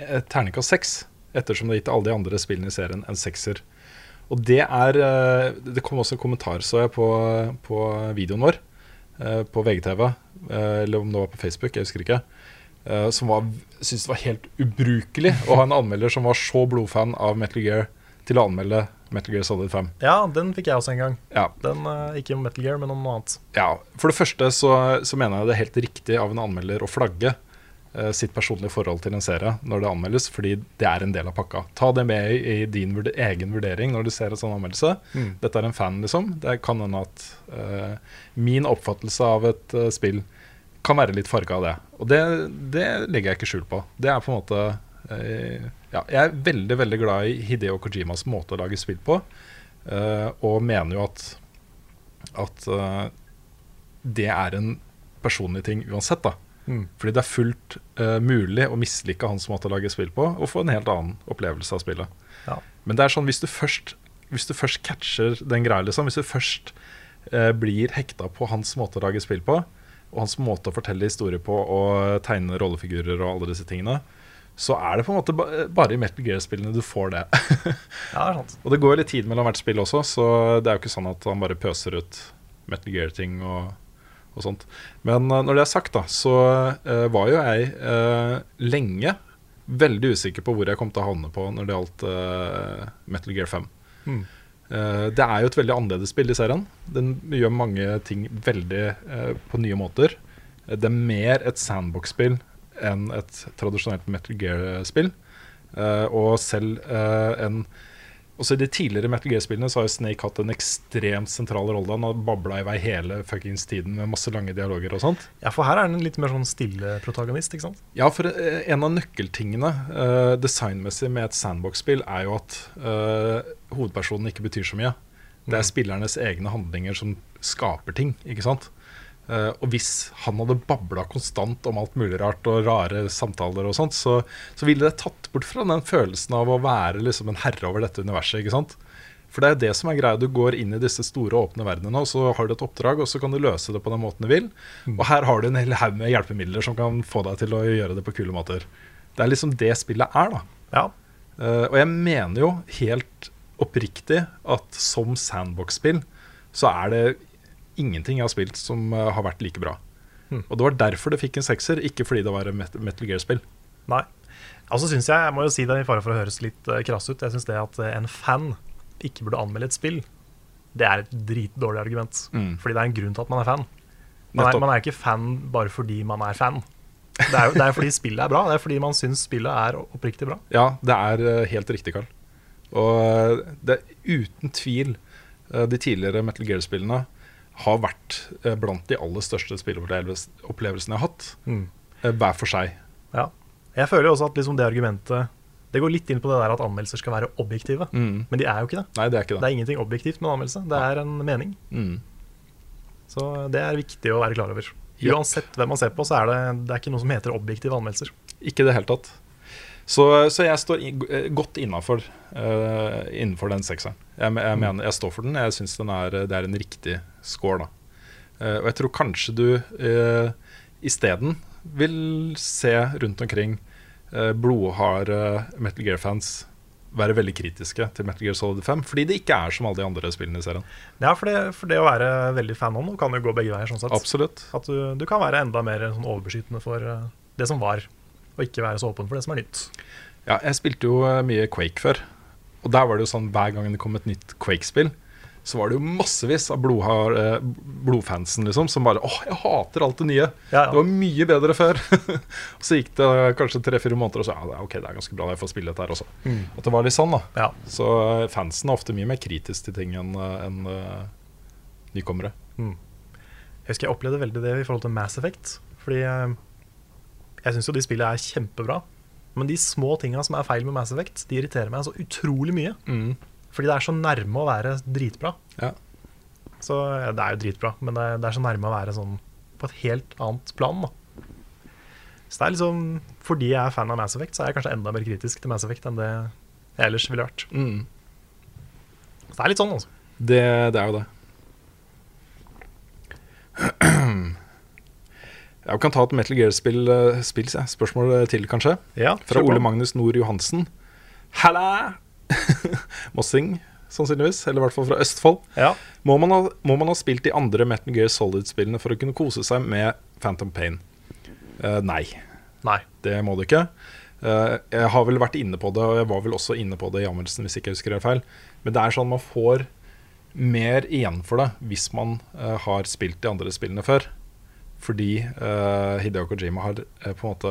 Speaker 2: eh, terningkast 6, ettersom det er gitt alle de andre spillene i serien en sekser. Og det er eh, Det kom også en kommentar, så jeg, på, på videoen vår eh, på VGTV, eh, eller om det var på Facebook, jeg husker ikke. eh, Som var- syntes det var helt ubrukelig å ha en anmelder som var så blodfan av Metal Gear, til å anmelde Metal Gear Solid 5.
Speaker 1: Ja, den fikk jeg også en gang.
Speaker 2: Ja,
Speaker 1: Den, eh, ikke om Metal Gear, men om noe annet.
Speaker 2: ja, For det første så, så mener jeg det er helt riktig av en anmelder å flagge eh, sitt personlige forhold til en serie når det anmeldes, fordi det er en del av pakka. Ta det med i, i din vurd egen vurdering når du ser en sånn anmeldelse. Dette er en fan, liksom. Det kan hende at eh, min oppfattelse av et eh, spill kan være litt farga av det. Og det, det legger jeg ikke skjul på. Det er på en måte eh, ja, Jeg er veldig, veldig glad i Hideo Kojimas måte å lage spill på, eh, og mener jo at at eh, det er en personlig ting uansett, da. Fordi det er fullt eh, mulig å mislike hans måte å lage spill på, og få en helt annen opplevelse av spillet.
Speaker 1: Ja.
Speaker 2: Men det er sånn, hvis du først, hvis du først catcher den greia, liksom, hvis du først eh, blir hekta på hans måte å lage spill på, og hans måte å fortelle historier på og tegne rollefigurer og alle disse tingene, så er det på en måte ba bare i Metal Gear-spillene du får det.
Speaker 1: Ja, det er sant.
Speaker 2: og det går jo litt tid mellom hvert spill også, så det er jo ikke sånn at han bare pøser ut Metal Gear-ting og, og sånt. Men eh, når det er sagt, da, så eh, var jo jeg eh, lenge veldig usikker på hvor jeg kom til å havne på når det gjaldt eh, Metal Gear 5. Eh, det er jo et veldig annerledes spill i serien. Den gjør mange ting veldig eh, på nye måter. Eh, Det er mer et sandbox-spill enn et tradisjonelt Metal Gear-spill. Eh, og selv eh, en også I de tidligere Metal Gear-spillene så har jo Snake hatt en ekstremt sentral rolle. Han har babla i vei hele fuckings tiden med masse lange dialoger og sånt.
Speaker 1: Ja, for her er den litt mer sånn stille protagonist, ikke sant?
Speaker 2: Ja, for eh, en av nøkkeltingene eh, designmessig med et sandbox-spill er jo at eh, hovedpersonen ikke betyr så mye. Det er spillernes egne handlinger som skaper ting, ikke sant. Eh, og hvis han hadde babla konstant om alt mulig rart og rare samtaler og sånt, så, så ville det tatt bort fra den følelsen av å være liksom en herre over dette universet, ikke sant. For det er det som er greia. Du går inn i disse store, åpne verdenene, og så har du et oppdrag, og så kan du løse det på den måten du vil. Og her har du en hel haug med hjelpemidler som kan få deg til å gjøre det på kule måter. Det er liksom det spillet er, da.
Speaker 1: Ja.
Speaker 2: Eh, og jeg mener jo helt oppriktig at som sandbox-spill så er det ingenting jeg har spilt som eh, har vært like bra. Og det var derfor det fikk en sekser, ikke fordi det var et Met- Metal Gear-spill.
Speaker 1: Nei. Altså synes jeg, jeg må jo si det i fare for å høres litt eh, krass ut, jeg synes det at eh, en fan ikke burde anmelde et spill, det er et dritdårlig argument. Fordi det er en grunn til at man er fan. Man er,
Speaker 2: Mm. Nettopp.
Speaker 1: man er ikke fan bare fordi man er fan. Det er, jo- det er fordi spillet er bra. Det er fordi man syns spillet er oppriktig bra.
Speaker 2: Ja, det er eh, helt riktig, Carl. Og eh, det er uten tvil eh, de tidligere Metal Gear-spillene har vært eh, blant de aller største spilleopplevelsene jeg har hatt, eh, hver for seg.
Speaker 1: Ja. Jeg føler jo også at liksom det argumentet Det går litt inn på det der at anmeldelser skal være objektive.
Speaker 2: Mm.
Speaker 1: Men de er jo ikke det.
Speaker 2: Nei, det er ikke
Speaker 1: Det
Speaker 2: det.
Speaker 1: er ingenting objektivt med en anmeldelse. Det er en mening.
Speaker 2: Mm.
Speaker 1: Så det er viktig å være klar over.
Speaker 2: Yep.
Speaker 1: Uansett hvem man ser på, så er det, det er ikke noe som heter objektive anmeldelser.
Speaker 2: Ikke i det hele tatt. Så, så jeg står i, eh, godt innafor eh, innenfor den sekseren. Jeg, me- jeg, mener, jeg står for den. Jeg syns det er en riktig score, da. Eh, og jeg tror kanskje du uh, isteden vil se rundt omkring uh, blodharde Metal Gear-fans være veldig kritiske til Metal Gear Solid 5, fordi det ikke er som alle de andre spillene i serien.
Speaker 1: Ja, for det, for det å være veldig fan nå kan jo gå begge veier. sånn sett.
Speaker 2: Absolutt.
Speaker 1: At du, du kan være enda mer sånn overbeskyttende for eh, det som var, og ikke være så åpen for det som er nytt.
Speaker 2: Ja, jeg spilte jo eh, mye Quake før. Og der var det jo sånn hver gang det kom et nytt Quake-spill, så var det jo massevis av blodhard, eh, blodfansen liksom, som bare åh, jeg hater alt det nye.
Speaker 1: Ja, ja.
Speaker 2: Det var mye bedre før. og så gikk det eh, kanskje tre-fire måneder, og så ja, det er ok, det er ganske bra, jeg får spille dette her også. At det var litt sånn, da.
Speaker 1: Mm. Ja.
Speaker 2: Så eh, fansen er ofte mye mer kritisk til ting enn eh, enn, eh, nykommere.
Speaker 1: Jeg husker jeg opplevde veldig det i forhold til Mass Effect. Fordi eh, jeg syns jo de spillene er kjempebra, men de små tinga som er feil med Mass Effect, de irriterer meg så utrolig mye. Fordi det er så nærme å være dritbra.
Speaker 2: Ja.
Speaker 1: Så ja, det er jo dritbra, men det er, det er så nærme å være sånn på et helt annet plan, da. Så det er liksom Fordi jeg er fan av Mass Effect, så er jeg kanskje enda mer kritisk til Mass Effect enn det jeg ellers ville vært. Så det er litt sånn, altså.
Speaker 2: Det, det er jo det. Jeg kan ta et Metal Gear-spill eh, spill, sier jeg. spørsmål til, kanskje.
Speaker 1: Ja,
Speaker 2: Fra
Speaker 1: kjør på.
Speaker 2: Ole Magnus Nord Johansen. Halla! Mossing, sannsynligvis. Eller i hvert fall fra Østfold.
Speaker 1: Ja.
Speaker 2: Må, man ha, må man ha spilt de andre Metal Gear Solid-spillene for å kunne kose seg med Phantom Pain? Eh, nei,
Speaker 1: Nei.
Speaker 2: det må du ikke. Eh, jeg har vel vært inne på det, og jeg var vel også inne på det i anmeldelsen, hvis ikke jeg husker det feil. Men det er sånn man får mer igjen for det hvis man eh, har spilt de andre spillene før. Fordi eh, Hideo Kojima har eh, på en måte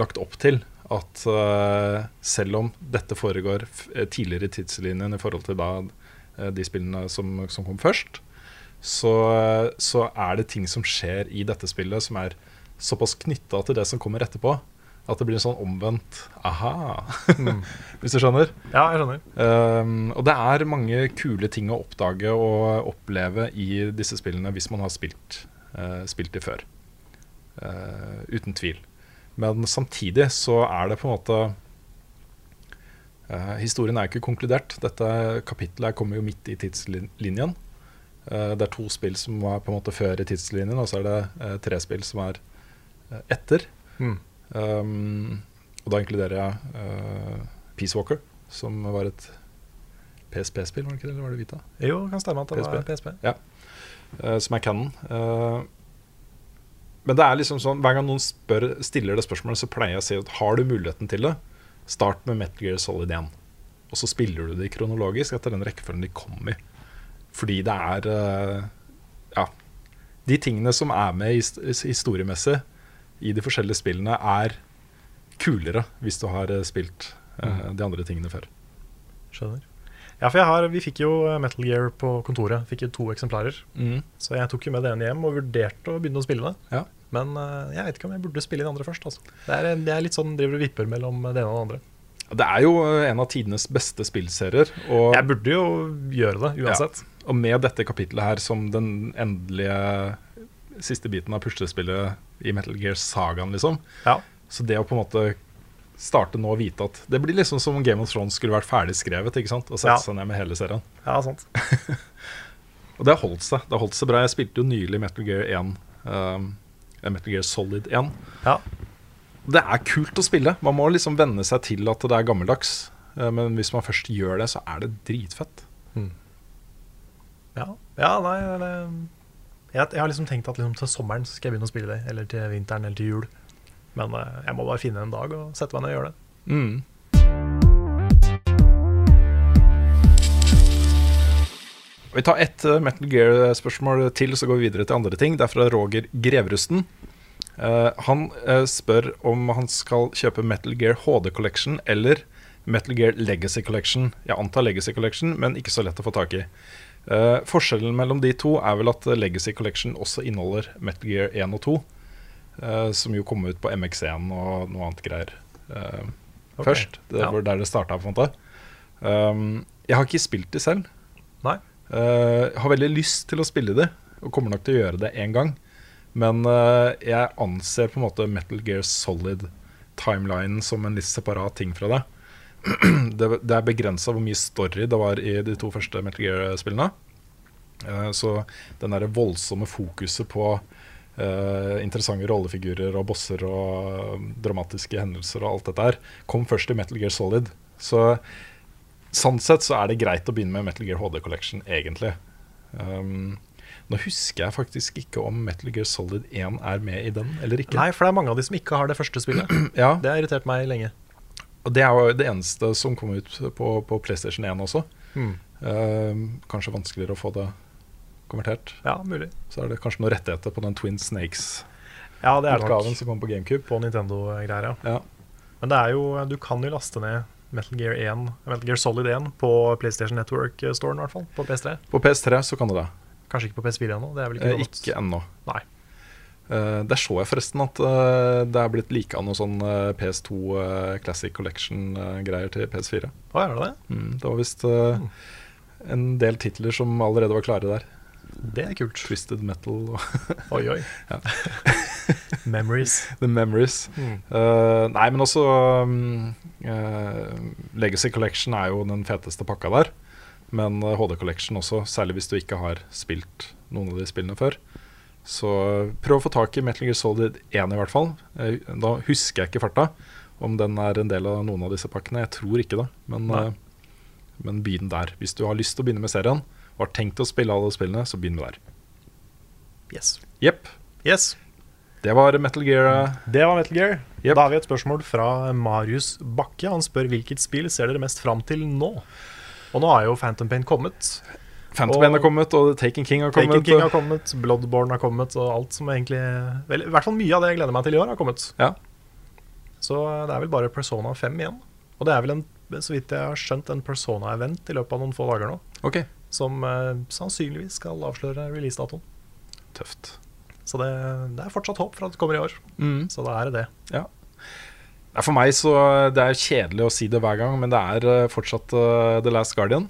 Speaker 2: lagt opp til at eh, selv om dette foregår f eh, tidligere i tidslinjen i forhold til da eh, de spillene som, som kom først, så, så er det ting som skjer i dette spillet som er såpass knytta til det som kommer etterpå, at det blir en sånn omvendt aha, hvis du skjønner.
Speaker 1: Ja, jeg skjønner.
Speaker 2: Um, og det er mange kule ting å oppdage og oppleve i disse spillene hvis man har spilt, eh, spilt de før. Eh, uten tvil. Men samtidig så er det på en måte eh, Historien er ikke konkludert. Dette kapittelet her kommer jo midt i tidslinjen. Eh, det er to spill som er på en måte før i tidslinjen, og så er det eh, tre spill som er eh, etter.
Speaker 1: Mm.
Speaker 2: Um, og da inkluderer jeg eh, Peace Walker, som var et PSP-spill, var det ikke det? Eller var det Vita?
Speaker 1: Jo, det kan stemme at det var PSP.
Speaker 2: Eh, som er canon. Eh, men det er liksom sånn, hver gang noen spør, stiller det spørsmålet, så pleier jeg å si at har du muligheten til det, start med Metal Gear Solid 1. Og så spiller du det kronologisk etter den rekkefølgen de kom i. Fordi det er eh, Ja. De tingene som er med his- his- historiemessig i de forskjellige spillene, er kulere hvis du har eh, spilt eh, de andre tingene før.
Speaker 1: Skjønner. Ja, for jeg har, vi fikk jo eh, Metal Gear på kontoret. Fikk jo to eksemplarer. Så jeg tok jo med det ene hjem og vurderte å begynne å spille det.
Speaker 2: Ja.
Speaker 1: Men eh, jeg vet ikke om jeg burde spille den andre først. Altså. Det, er, det er litt sånn driver og vipper mellom det ene og det andre.
Speaker 2: Det er jo eh, en av tidenes beste spillserier. Og
Speaker 1: Jeg burde jo gjøre det uansett.
Speaker 2: Ja. Og med dette kapitlet her som den endelige siste biten av puslespillet i Metal Gear Sagaen, liksom.
Speaker 1: Ja.
Speaker 2: Så det å på en måte starte nå og vite at Det blir liksom som om Game of Thrones skulle vært ferdig skrevet, ikke sant? Og sette
Speaker 1: Ja.
Speaker 2: seg ned med hele serien.
Speaker 1: Ja, sant.
Speaker 2: Og det har holdt seg. Det har holdt seg bra. Jeg spilte jo nylig Metal Gear 1. ehm, Metal Gear Solid 1.
Speaker 1: Ja.
Speaker 2: Det er kult å spille. Man må liksom venne seg til at det er gammeldags. eh, Men hvis man først gjør det, så er det dritfett.
Speaker 1: Ja, ja nei, det, jeg, jeg har liksom tenkt at liksom til sommeren så skal jeg begynne å spille det. Eller til vinteren eller til jul. Men eh, jeg må bare finne en dag og sette meg ned og gjøre det.
Speaker 2: Vi tar ett eh, Metal Gear-spørsmål til, så går vi videre til andre ting. Det er fra Roger Grevrusten. Eh, han eh, spør om han skal kjøpe Metal Gear HD Collection eller Metal Gear Legacy Collection. Jeg antar Legacy Collection, men ikke så lett å få tak i. Eh, forskjellen mellom de to er vel at eh, Legacy Collection også inneholder Metal Gear 1 og 2, eh, som jo kom ut på MX1 og noe annet greier eh,
Speaker 1: Ok,
Speaker 2: først. Det
Speaker 1: ja.
Speaker 2: var der det starta, på en måte. Um, jeg har ikke spilt de selv.
Speaker 1: Nei.
Speaker 2: Eh, har veldig lyst til å spille det, og kommer nok til å gjøre det én gang. Men eh, jeg anser på en måte Metal Gear Solid-timelinen som en litt separat ting fra det. det, det er begrensa hvor mye story det var i de to første Metal Gear-spillene. Eh, så den der voldsomme fokuset på eh, interessante rollefigurer og bosser og eh, dramatiske hendelser og alt dette her, kom først i Metal Gear Solid. Så Sånn sett så er det greit å begynne med Metal Gear HD Collection, egentlig. Um, nå husker jeg faktisk ikke om Metal Gear Solid 1 er med i den eller ikke.
Speaker 1: Nei, for det er mange av de som ikke har det første spillet.
Speaker 2: Ja,
Speaker 1: Det har irritert meg lenge.
Speaker 2: og det er jo det eneste som kom ut på, på PlayStation 1 også.
Speaker 1: Hmm.
Speaker 2: Um, kanskje vanskeligere å få det konvertert.
Speaker 1: Ja, mulig.
Speaker 2: Så er det kanskje noen rettigheter på den Twin Snakes-utgaven
Speaker 1: Ja, det er det nok
Speaker 2: som kom på GameCube.
Speaker 1: på Nintendo-greier, ja.
Speaker 2: Ja.
Speaker 1: Men det er jo, du kan jo laste ned Metal Gear 1, Metal Gear Solid 1 på PlayStation Network-storen, i hvert fall. På PS3.
Speaker 2: På PS3 så kan du det.
Speaker 1: Kanskje ikke på PS4 ennå. Det er vel ikke
Speaker 2: Eh,
Speaker 1: lovt.
Speaker 2: ikke ennå.
Speaker 1: Nei.
Speaker 2: Eh, der så jeg forresten at eh, det er blitt lika noe sånn eh, PS2 eh, Classic Collection-greier til PS4.
Speaker 1: Å, er det det?
Speaker 2: Mm, det var visst eh, en del titler som allerede var klare der.
Speaker 1: Det er kult.
Speaker 2: Twisted Metal og
Speaker 1: Oi, oi. Memories.
Speaker 2: The Memories.
Speaker 1: Mm.
Speaker 2: Eh, nei, men også um, eh, Legacy Collection er jo den feteste pakka der. Men eh, HD Collection også, særlig hvis du ikke har spilt noen av de spillene før. Så eh, prøv å få tak i Metal Gear Solid 1 i hvert fall. Eh, da husker jeg ikke farta om den er en del av noen av disse pakkene. Jeg tror ikke det, men,
Speaker 1: Nei.
Speaker 2: eh, men begynn der. Hvis du har lyst til å begynne med serien og har tenkt å spille alle spillene, så begynn med der.
Speaker 1: Yes.
Speaker 2: Jepp.
Speaker 1: yes.
Speaker 2: Det var Metal Gear. eh,
Speaker 1: Det var Metal Gear.
Speaker 2: Jep.
Speaker 1: Da har vi et spørsmål fra Marius Bakke. Han spør hvilket spill ser dere mest fram til nå? Og nå er jo Phantom Pain kommet.
Speaker 2: Phantom
Speaker 1: Og-
Speaker 2: Pain har kommet, og Taken King har kommet.
Speaker 1: Taken King har kommet, Bloodborne har kommet, og alt som egentlig vel, I hvert fall mye av det jeg gleder meg til i år, har kommet.
Speaker 2: Ja.
Speaker 1: Så det er vel bare Persona 5 igjen. Og det er vel, en, så vidt jeg har skjønt, en Persona-event i løpet av noen få dager nå.
Speaker 2: Ok,
Speaker 1: Som eh, sannsynligvis skal avsløre releasedatoen.
Speaker 2: tøft.
Speaker 1: Så det, det er fortsatt håp for at det kommer i år. Så da er det det.
Speaker 2: Nei, For meg så Det er kjedelig å si det hver gang, men det er eh, fortsatt eh, The Last Guardian.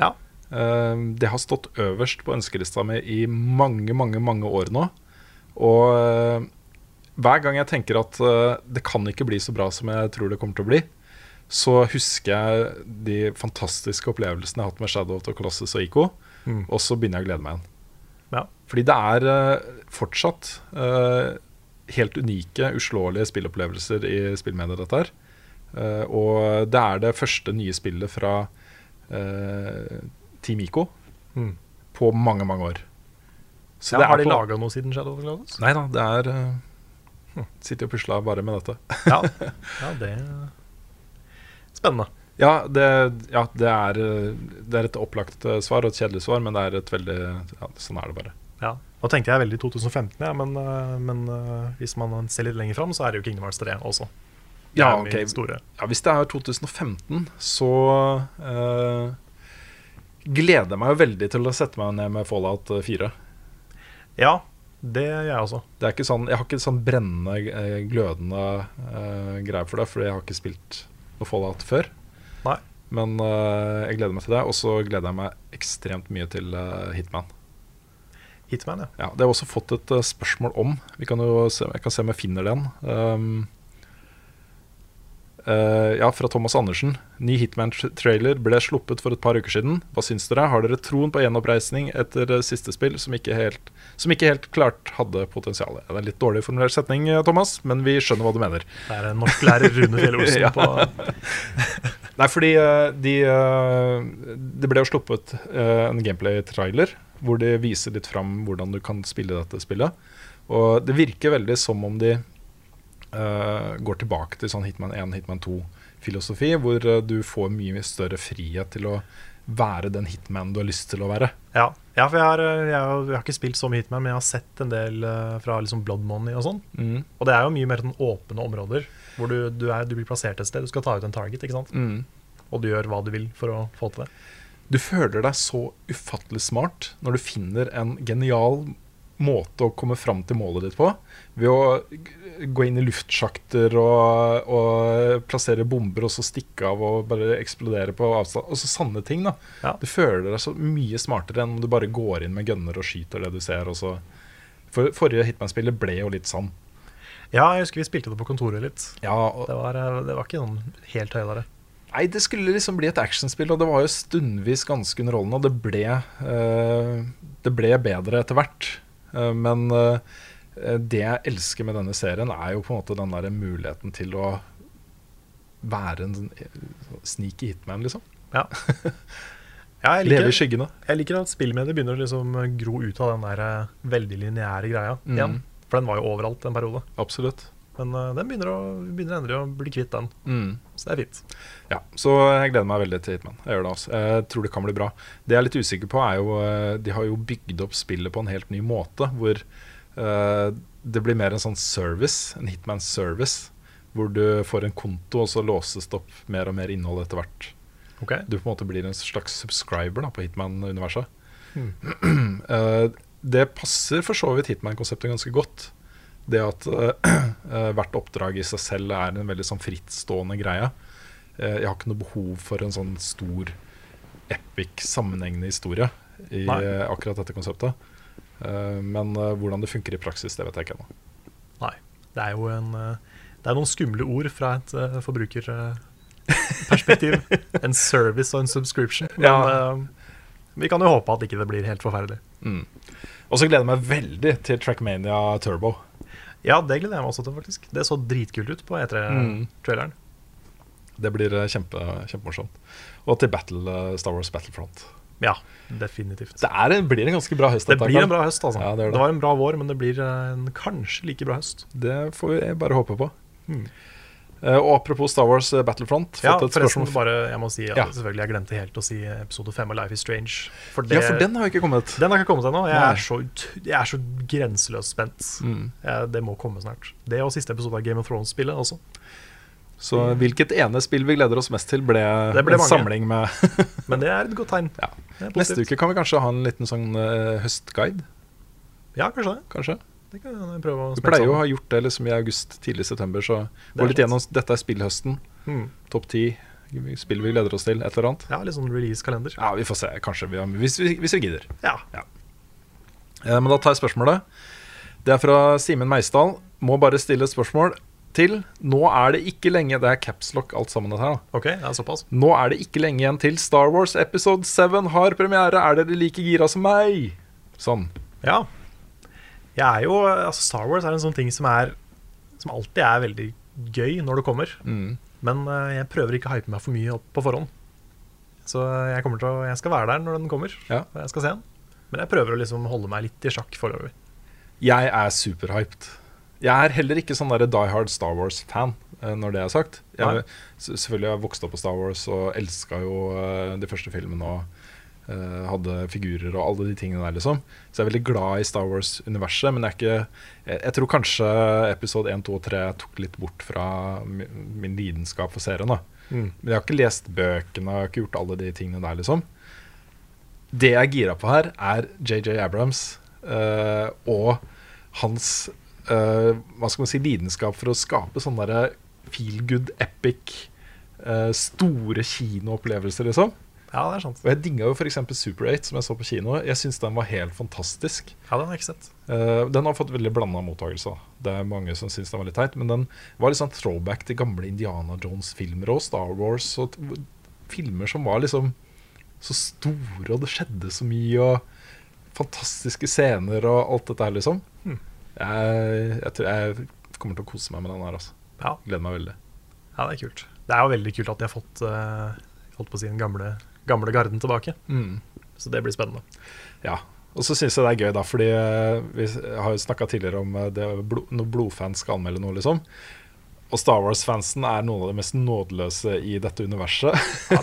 Speaker 1: Ja.
Speaker 2: Eh, det har stått øverst på ønskelista mi i mange, mange, mange år nå. Og eh, hver gang jeg tenker at eh, det kan ikke bli så bra som jeg tror det kommer til å bli, så husker jeg de fantastiske opplevelsene jeg har hatt med Shadow of the Colossus og Ico,
Speaker 1: Mm.
Speaker 2: og så begynner jeg å glede meg igjen.
Speaker 1: Ja.
Speaker 2: Fordi det er eh, fortsatt eh, helt unike, uslåelige spillopplevelser i spillmediet, dette her. Eh, og det er det første nye spillet fra eh, Team Ico
Speaker 1: Mm.
Speaker 2: på mange, mange år. Så
Speaker 1: Ja,
Speaker 2: det er
Speaker 1: har de
Speaker 2: på-
Speaker 1: laga noe siden Shadow of the Colossus?
Speaker 2: Nei da, det er eh, Sitter og pusler bare med dette.
Speaker 1: Ja. ja, det Spennende.
Speaker 2: Ja, det, ja, det, er, eh, det er et opplagt eh, svar og et kjedelig svar, men det er et veldig ja, Sånn er det bare.
Speaker 1: Ja. Nå tenkte jeg veldig 2015, ja, men, eh, men eh, hvis man ser litt lenger fram, så er det jo Kingdom Hearts 3 også. Det
Speaker 2: Ja,
Speaker 1: er
Speaker 2: ok.
Speaker 1: mitt store.
Speaker 2: Ja, hvis det er 2015, så eh, gleder jeg meg jo veldig til å sette meg ned med Fallout eh, 4.
Speaker 1: Ja, det gjør jeg også.
Speaker 2: Det er ikke sånn, jeg har ikke sånn brennende, eh, glødende uh, greier for det, fordi jeg har ikke spilt noe Fallout før.
Speaker 1: Nei.
Speaker 2: Men eh, jeg gleder meg til det, og så gleder jeg meg ekstremt mye til eh, Hitman.
Speaker 1: Hitman, ja.
Speaker 2: Ja, det har jeg også fått et eh, spørsmål om. Vi kan jo se, jeg kan se om jeg finner den. Ehm, eh, ja, fra Thomas Andersen. Ny Hitman-trailer ble sluppet for et par uker siden. Hva syns dere? Har dere troen på gjenoppreisning etter eh, siste spill som ikke helt, som ikke helt klart hadde potensial? Det er en litt dårlig formulert setning, eh, Thomas, men vi skjønner hva du mener.
Speaker 1: Det er en norsklærer Rune Fjell Olsen
Speaker 2: Ja.
Speaker 1: på
Speaker 2: Nei, fordi eh, de, eh, det ble jo sluppet eh, en gameplay-trailer hvor de viser litt fram hvordan du kan spille dette spillet. Og det virker veldig som om de eh, går tilbake til sånn Hitman 1, Hitman 2-filosofi, hvor eh, du får mye større frihet til å være den hitmanen du har lyst til å være.
Speaker 1: Ja, ja for jeg har, eh, jeg, har, jeg har ikke spilt så mye Hitman, men jeg har sett en del eh, fra liksom Blood Money og sånn. Og det er jo mye mer sånn åpne områder, hvor du, du, er, du blir plassert et sted. Du skal ta ut en target, ikke sant? og du gjør hva du vil for å få til det.
Speaker 2: Du føler deg så ufattelig smart når du finner en genial måte å komme fram til målet ditt på, ved å g- gå inn i luftsjakter og, og plassere bomber og så stikke av og bare eksplodere på avstand. Altså sanne ting, da.
Speaker 1: Ja.
Speaker 2: Du føler deg så mye smartere enn om du bare går inn med gunner og skyter det du ser. Og så. For, forrige Hitman-spillet ble jo litt sånn.
Speaker 1: Ja, jeg husker vi spilte det på kontoret litt.
Speaker 2: Ja, og,
Speaker 1: Det var, eh, det var ikke sånn helt høydere.
Speaker 2: Nei, det skulle liksom bli et actionspill, og det var jo stundvis ganske underholdende. Og det ble, eh, det ble bedre etter hvert. Eh, men eh, det jeg elsker med denne serien, er jo på en måte den der muligheten til å være en sånn, eh, sånn sneaky hitman, liksom.
Speaker 1: Ja, jeg
Speaker 2: Leve i
Speaker 1: liker,
Speaker 2: skyggene.
Speaker 1: jeg liker at spillmediet begynner å liksom gro ut av den der eh, veldig lineære greia
Speaker 2: Mm.
Speaker 1: igjen. For den var jo overalt en periode.
Speaker 2: Absolutt.
Speaker 1: Men eh, den begynner, å, begynner endelig å bli kvitt den,
Speaker 2: Mm.
Speaker 1: så det er fint.
Speaker 2: Ja, Så jeg gleder meg veldig til Hitman. Jeg gjør det altså. Jeg tror det kan bli bra. Det jeg er litt usikker på, er jo eh, De har jo bygd opp spillet på en helt ny måte, hvor eh, det blir mer en sånn service, en Hitman-service, hvor du får en konto, og så låses det opp mer og mer innhold etter hvert.
Speaker 1: Ok,
Speaker 2: Du på en måte blir en slags subscriber da, på Hitman-universet. Eh, det passer for så vidt Hitman-konseptet ganske godt. Det at eh, eh, hvert oppdrag i seg selv er en veldig sånn frittstående greie. Eh, jeg har ikke noe behov for en sånn stor, epic, sammenhengende historie i
Speaker 1: Nei.
Speaker 2: eh, akkurat dette konseptet. Eh, men eh, hvordan det funker i praksis, det vet jeg ikke ennå.
Speaker 1: Nei. Det er jo en, eh, det er noen skumle ord fra et eh, forbrukerperspektiv. en service og en subscription. Men
Speaker 2: Ja.
Speaker 1: eh, vi kan jo håpe at ikke det blir helt forferdelig.
Speaker 2: Og så gleder jeg meg veldig til Trackmania Turbo.
Speaker 1: Ja, det gleder jeg meg også til, faktisk. Det så dritkult ut på E
Speaker 2: Mm.
Speaker 1: E3-traileren.
Speaker 2: Det blir eh, kjempe, kjempemorsomt. Og til Battle, eh, Star Wars Battlefront.
Speaker 1: Ja, definitivt.
Speaker 2: Det er en, blir en ganske bra høst.
Speaker 1: Det
Speaker 2: dette,
Speaker 1: blir en
Speaker 2: Karl.
Speaker 1: bra høst, altså.
Speaker 2: Ja,
Speaker 1: det,
Speaker 2: det, gjør det.
Speaker 1: var en bra vår, men det blir eh, en kanskje like bra høst.
Speaker 2: det får vi bare håpe på. Eh, og apropos Star Wars eh, Battlefront
Speaker 1: Ja,
Speaker 2: fått et
Speaker 1: forresten,
Speaker 2: spørsmål-
Speaker 1: bare, jeg må si at
Speaker 2: Ja.
Speaker 1: selvfølgelig jeg glemte helt å si episode fem av Life is Strange.
Speaker 2: ja, for den har jo ikke kommet.
Speaker 1: Den har ikke kommet ennå. Jeg,
Speaker 2: Nei. Mm.
Speaker 1: er så ut- jeg er så grenseløst spent. Eh, Det må komme snart. Det og siste episode av Game of Thrones-spillet også.
Speaker 2: Så hvilket ene spill vi gleder oss mest til, ble,
Speaker 1: Det ble
Speaker 2: en
Speaker 1: mange.
Speaker 2: samling med
Speaker 1: Men det er et godt tegn.
Speaker 2: ja.
Speaker 1: Det er
Speaker 2: Neste
Speaker 1: positivt.
Speaker 2: uke kan vi kanskje ha en liten sånn eh, høstguide,
Speaker 1: Ja, kanskje det.
Speaker 2: kanskje.
Speaker 1: Det kan jeg prøve å
Speaker 2: Vi
Speaker 1: smette
Speaker 2: pleier jo å
Speaker 1: sammen.
Speaker 2: ha gjort det liksom i august, tidlig september, så
Speaker 1: er
Speaker 2: gå litt
Speaker 1: sant.
Speaker 2: gjennom Dette er spillhøsten.
Speaker 1: Mm.
Speaker 2: Topp ti spill vi gleder oss til, et eller annet.
Speaker 1: Ja, litt sånn release-kalender.
Speaker 2: Ja, vi får se. Kanskje vi har Hvis vi, hvis vi gidder.
Speaker 1: Ja.
Speaker 2: Eh, Men da tar jeg spørsmålet. Det er fra Simen Meisdal. Må bare stille et spørsmål til. Nå er det ikke lenge Det er capslock alt sammen dette her. da.
Speaker 1: OK, det er såpass.
Speaker 2: Nå er det ikke lenge igjen til Star Wars episode 7 har premiere. Er dere like gira som meg? Sånn.
Speaker 1: Ja. Jeg er jo altså Star Wars er en sånn ting som er Som alltid er veldig gøy når det kommer.
Speaker 2: Mm.
Speaker 1: Men eh, jeg prøver ikke å hype meg for mye opp på forhånd. Så jeg, kommer til å, jeg skal være der når den kommer.
Speaker 2: Ja.
Speaker 1: Og jeg skal se den. Men jeg prøver å liksom holde meg litt i sjakk foreløpig.
Speaker 2: Jeg er superhyped. Jeg er heller ikke sånn der Die Hard Star Wars-fan, eh, når det er sagt.
Speaker 1: Nei.
Speaker 2: Jeg, s- selvfølgelig har jeg vokst opp på Star Wars og elska jo eh, de første filmene og eh, hadde figurer og alle de tingene der, liksom. Så jeg er veldig glad i Star Wars-universet, men jeg er ikke jeg, jeg tror kanskje episode 1, 2 og 3 tok litt bort fra mi- min lidenskap for serien, da. Men jeg har ikke lest bøkene, jeg har ikke gjort alle de tingene der, liksom. Det jeg er gira på her, er JJ Abrams eh, og hans eh, hva skal man si, lidenskap for å skape sånne der feel good, epic, eh, store kinoopplevelser, liksom.
Speaker 1: Ja, det er sant.
Speaker 2: Og jeg digga jo f.eks. Super 8, som jeg så på kino. Jeg syns den var helt fantastisk.
Speaker 1: Ja, den har jeg ikke sett.
Speaker 2: Eh, den har fått veldig blanda mottakelse. da. Det er mange som syns den var litt teit, men den var litt sånn throwback til gamle Indiana Jones-filmer og Star Wars. Og t filmer som var liksom så store, og det skjedde så mye, og fantastiske scener og alt dette her, liksom. Jeg, jeg tror jeg kommer til å kose meg med den her, altså.
Speaker 1: Ja,
Speaker 2: Gleder meg veldig.
Speaker 1: ja det er kult. Det er jo veldig kult at de har fått eh, holdt på å si den gamle, gamle garden tilbake.
Speaker 2: Mm.
Speaker 1: Så det blir spennende.
Speaker 2: Ja. Og så syns jeg det er gøy, da, fordi eh, vi s- har jo snakka tidligere om eh, det blod, når blodfans skal anmelde noe, liksom. Og Star Wars-fansen er noen av de mest nådeløse i dette universet.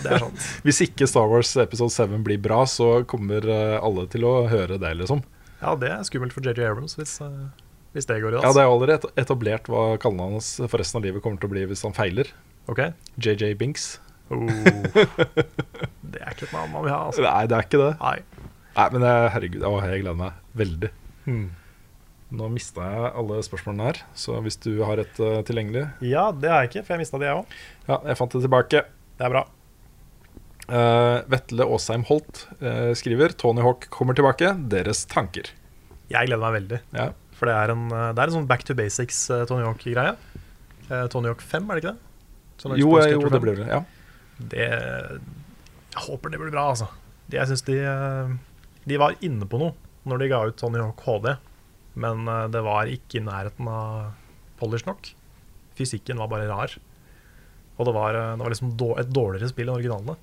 Speaker 2: Hvis ikke Star Wars Episode 7 blir bra, så kommer eh, alle til å høre det, liksom.
Speaker 1: Ja, det er skummelt for JJ Abrams hvis, eh, hvis det går i dass.
Speaker 2: Ja, Det er jo allerede etablert hva kallenavnet hans for resten av livet kommer til å bli hvis han feiler.
Speaker 1: Ok.
Speaker 2: JJ Binks.
Speaker 1: Oh. Det er ikke et navn man vil ha, altså.
Speaker 2: Nei, det er ikke det.
Speaker 1: Nei.
Speaker 2: Nei, men jeg, herregud, å, jeg gleder meg veldig. Hmm. Nå mista jeg alle spørsmålene her, så hvis du har et eh, tilgjengelig
Speaker 1: Ja, det har jeg ikke, for jeg mista det, jeg òg.
Speaker 2: Ja, jeg fant det tilbake.
Speaker 1: Det er bra.
Speaker 2: Eh, Vetle Aasheim Holt eh, skriver Tony Hawk kommer tilbake. Deres tanker.
Speaker 1: Jeg gleder meg veldig.
Speaker 2: Ja.
Speaker 1: For det er en, eh, det er en sånn back to basics eh, Tony Hawk-greie. Eh, Tony Hawk 5, er det ikke det? Sånn
Speaker 2: Jo,
Speaker 1: Extreme Skater
Speaker 2: eh, jo,
Speaker 1: 5.
Speaker 2: det blir det. Ja.
Speaker 1: det Jeg håper det blir bra, altså. Det- Jeg syns de eh, De var inne på noe når de ga ut Tony Hawk HD, men eh, det var ikke i nærheten av polish nok. Fysikken var bare rar. Og det var, eh, det var liksom dår- et dårligere spill enn originalene.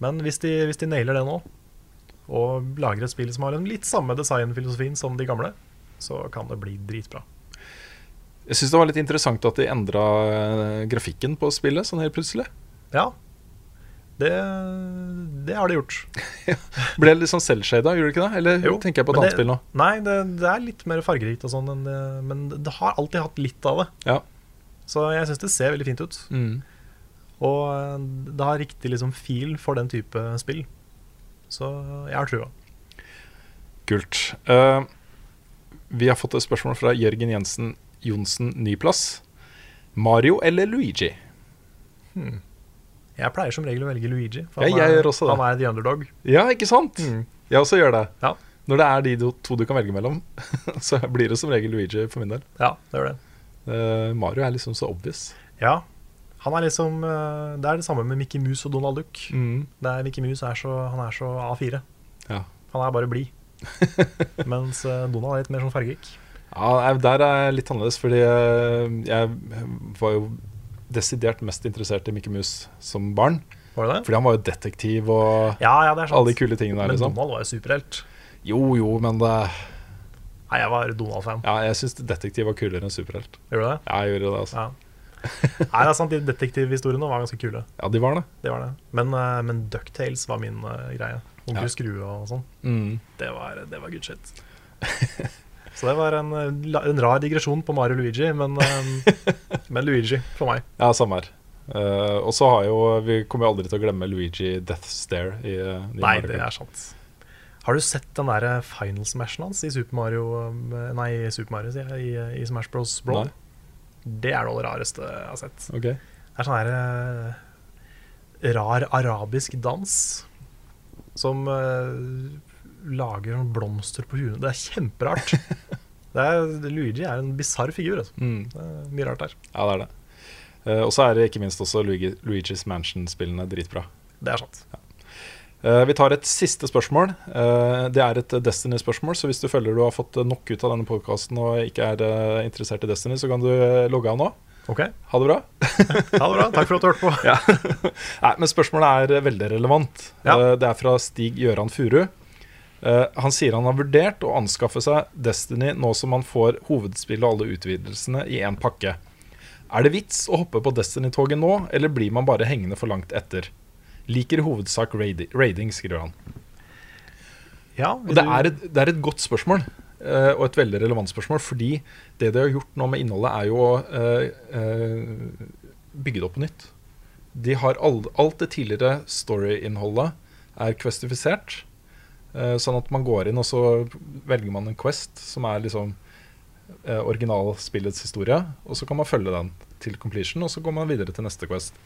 Speaker 1: Men hvis de, hvis de nailer det nå, og lager et spill som har en litt samme designfilosofien som de gamle, så kan det bli dritbra.
Speaker 2: Jeg syns det var litt interessant at de endra eh, grafikken på spillet sånn helt plutselig.
Speaker 1: Ja. Det, det har de gjort.
Speaker 2: Ble litt sånn selvshada, gjorde det ikke det? Eller
Speaker 1: Jo,
Speaker 2: tenker jeg på
Speaker 1: men
Speaker 2: et annet
Speaker 1: det-
Speaker 2: spill nå?
Speaker 1: Nei, det, det er litt mer fargerikt og sånn, enn det- men det det har alltid hatt litt av det.
Speaker 2: Ja.
Speaker 1: Så jeg syns det ser veldig fint ut.
Speaker 2: Mm.
Speaker 1: Og eh, det har riktig liksom feel for den type spill. Så jeg har trua.
Speaker 2: Kult. Eh, vi har fått et spørsmål fra Jørgen Jensen Johnsen Nyplass. Mario eller Luigi?
Speaker 1: Jeg pleier som regel å velge Luigi, for
Speaker 2: Ja,
Speaker 1: han,
Speaker 2: jeg
Speaker 1: er,
Speaker 2: gjør også det.
Speaker 1: han er the underdog.
Speaker 2: Ja, ikke sant? Jeg også gjør det.
Speaker 1: Mm. Ja.
Speaker 2: Når det er de do- to du kan velge mellom, så blir det som regel Luigi for min del.
Speaker 1: Ja, det gjør det.
Speaker 2: Eh, Mario er liksom så obvious.
Speaker 1: Ja. Han er liksom eh, Det er det samme med Mickey Mouse og Donald Duck. Det er, Mickey Mouse er så, han er så A4.
Speaker 2: Ja.
Speaker 1: Han er bare blid. Mens eh, Donald er litt mer sånn fargerik.
Speaker 2: Ja, nei, Der er jeg litt annerledes, fordi eh, jeg var jo desidert mest interessert i Mickey Mouse som barn.
Speaker 1: Var det det?
Speaker 2: Fordi han var jo detektiv og
Speaker 1: Ja, ja, det er sant.
Speaker 2: alle de kule tingene der,
Speaker 1: Men
Speaker 2: liksom.
Speaker 1: Donald var jo superhelt.
Speaker 2: Jo, jo, men det,
Speaker 1: Nei, jeg var Donald-fan.
Speaker 2: ja, jeg syns detektiv var kulere enn superhelt.
Speaker 1: Gjør du det?
Speaker 2: Ja, jeg gjorde det, altså.
Speaker 1: Ja. Nei, det er sant, de detektivhistoriene var ganske kule.
Speaker 2: Ja, de var det.
Speaker 1: Det var det. Men, eh, men Ducktales var min eh, greie. Onkel
Speaker 2: Ja.
Speaker 1: Skrue og sånn. Det, var, det var good shit. Så det var en, eh, la- en rar digresjon på Mario Luigi, men, eh, men Luigi for meg.
Speaker 2: Ja, samme her. Eh, og så har jo Vi kommer jo aldri til å glemme Luigi Death Stare. I, eh, New
Speaker 1: Nei,
Speaker 2: Mario
Speaker 1: det er
Speaker 2: Kart.
Speaker 1: sant. Har du sett den der eh, final smashen hans i Super Mario eh, Nei, i Super Mario, sier jeg. I, i Smash Bros. Brawl.
Speaker 2: Nei.
Speaker 1: Det er noe av det rareste jeg har sett.
Speaker 2: Ok.
Speaker 1: Det er sånn her eh, rar arabisk dans som eh, lager sånn blomster på huet. Det er kjemperart. Det er, Luigi er en bisarr figur. Altså.
Speaker 2: Mm.
Speaker 1: Det er mye rart der.
Speaker 2: Ja, det er det. Eh, og så er det ikke minst også Luigi, Luigi's Mansion-spillene dritbra.
Speaker 1: Det er sant.
Speaker 2: Eh, vi tar et siste spørsmål. Eh, det er et Destiny-spørsmål, så hvis du føler du har fått eh, nok ut av denne podkasten og ikke er eh, interessert i Destiny, så kan du eh, logge av nå.
Speaker 1: OK,
Speaker 2: Ha det bra.
Speaker 1: ha det bra. Takk for at du hørte på.
Speaker 2: Ja. Nei, men spørsmålet er eh, veldig relevant.
Speaker 1: Ja.
Speaker 2: Eh, Det er fra Stig Gjøran Furu. Eh, Han sier han har vurdert å anskaffe seg Destiny nå som han får hovedspillet og alle utvidelsene i én pakke. Er det vits å hoppe på Destiny-toget nå, eller blir man bare hengende for langt etter? Liker i hovedsak raidi- raiding, skriver han.
Speaker 1: Ja,
Speaker 2: Og det er et, det er et godt spørsmål, eh, og et veldig relevant spørsmål, fordi det de har gjort nå med innholdet, er jo å eh, eh, bygge det opp på nytt. De har all, alt det tidligere story-innholdet er questifisert, eh, sånn at man går inn og så velger man en quest som er liksom eh, originalspillets historie, og så kan man følge den til completion, og så går man videre til neste quest.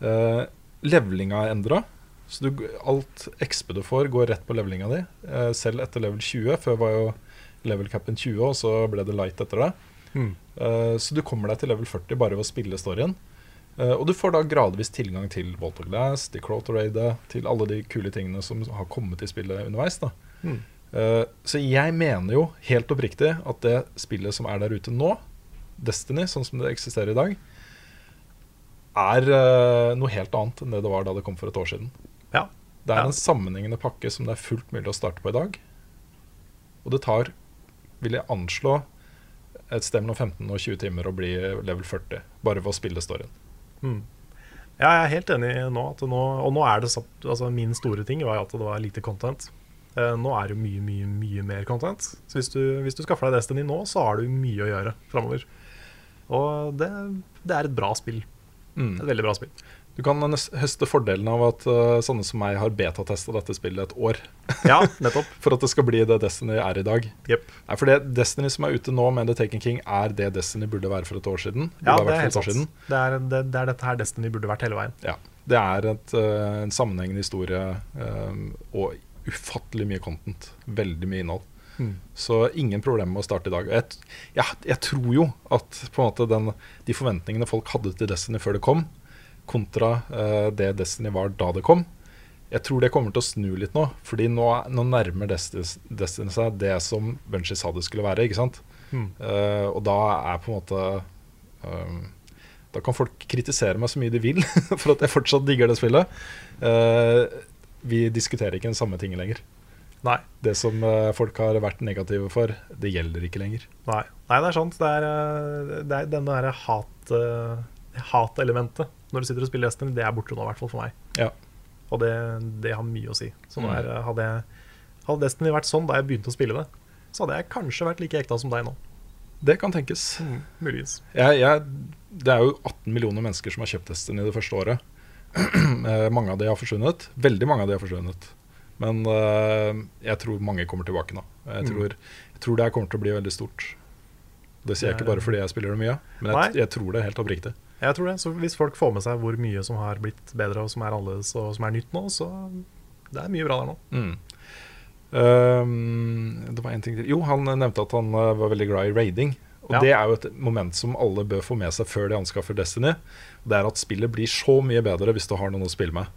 Speaker 2: Eh, levelinga er endra. Så du, alt XP du får, går rett på levelinga di. Eh, selv etter level 20. Før var jo level capen 20, og så ble det light etter det.
Speaker 1: Mm.
Speaker 2: Eh, så du kommer deg til level 40 bare ved å spille storyen. Eh, og du får da gradvis tilgang til Walt of Glass, til Crotoradet, til alle de kule tingene som har kommet i spillet underveis. da. Eh, så jeg mener jo helt oppriktig at det spillet som er der ute nå, Destiny, sånn som det eksisterer i dag, er eh, noe helt annet enn det det var da det kom for et år siden.
Speaker 1: ja.
Speaker 2: Det er
Speaker 1: Ja.
Speaker 2: en sammenhengende pakke som det er fullt mulig å starte på i dag. Og det tar, vil jeg anslå, et sted mellom 15 og 20 timer og bli level 40. Bare ved å spille storyen.
Speaker 1: Mm. Ja, jeg er helt enig nå. At nå og nå er det så, altså Min store ting var at det var lite content. Eh, nå er det jo mye, mye mye mer content. Så hvis du, hvis du skaffer deg Destiny nå, så har du mye å gjøre framover. Og det, det er et bra spill.
Speaker 2: Mm.
Speaker 1: Et veldig bra spill.
Speaker 2: Du kan nes- høste fordelen av at eh, sånne som meg har betatesta dette spillet et år.
Speaker 1: Ja, nettopp.
Speaker 2: For at det skal bli det Destiny er i dag.
Speaker 1: Jep.
Speaker 2: Nei, for det Destiny som er ute nå med The Taken King, er det Destiny burde være for et år siden. Burde
Speaker 1: Ja,
Speaker 2: ha
Speaker 1: det
Speaker 2: vært
Speaker 1: er helt
Speaker 2: for et år siden.
Speaker 1: sant. Det er, det, det er dette her Destiny burde vært hele veien.
Speaker 2: Ja. Det er et, eh, en sammenhengende historie eh, og ufattelig mye content. Veldig mye innhold.
Speaker 1: Mm.
Speaker 2: Så ingen problemer med å starte i dag. Og Jeg, t- jeg, jeg tror jo at på en måte den, de forventningene folk hadde til Destiny før det kom, kontra eh, det Destiny var da det kom, jeg tror det kommer til å snu litt nå. Fordi nå, er- nå nærmer Destiny, Destiny seg det som Bunchie sa det skulle være. ikke sant?
Speaker 1: Mm.
Speaker 2: Eh, og da er på en måte eh, Da kan folk kritisere meg så mye de vil for at jeg fortsatt digger det spillet. Eh, vi diskuterer ikke den samme tingen lenger.
Speaker 1: Nei.
Speaker 2: Det som eh, folk har vært negative for, det gjelder ikke lenger.
Speaker 1: Nei, Nei det er sant. Det er, eh, det er denne derre hat, eh, hatelementet når du sitter og spiller Destiny, det er borte nå, i hvert fall for meg.
Speaker 2: Ja.
Speaker 1: Og det, det har mye å si. Så nå
Speaker 2: Mm.
Speaker 1: er, eh, hadde, jeg, hadde Destiny vært sånn da jeg begynte å spille det, så hadde jeg kanskje vært like ekta som deg nå.
Speaker 2: Det kan tenkes.
Speaker 1: Mm. Muligens.
Speaker 2: Jeg, jeg, det er jo 18 millioner mennesker som har kjøpt Destiny det første året. Eh, mange av de har forsvunnet. Veldig mange av de har forsvunnet. Men eh, jeg tror mange kommer tilbake nå.
Speaker 1: Mm.
Speaker 2: Jeg tror, jeg tror det her kommer til å bli veldig stort. Det sier
Speaker 1: Det
Speaker 2: jeg ikke
Speaker 1: er-
Speaker 2: bare fordi jeg spiller det mye, men jeg,
Speaker 1: Nei.
Speaker 2: jeg tror det helt oppriktig.
Speaker 1: Jeg tror det. Så hvis folk får med seg hvor mye som har blitt bedre, og som er annerledes, og som er nytt nå, så det er mye bra der nå.
Speaker 2: Mm. Ehm, det var en ting til Jo, han nevnte at han eh, var veldig glad i raiding. Og
Speaker 1: Ja.
Speaker 2: Det er jo et moment som alle bør få med seg før de anskaffer Destiny. Det er at spillet blir så mye bedre hvis du har noen å spille med.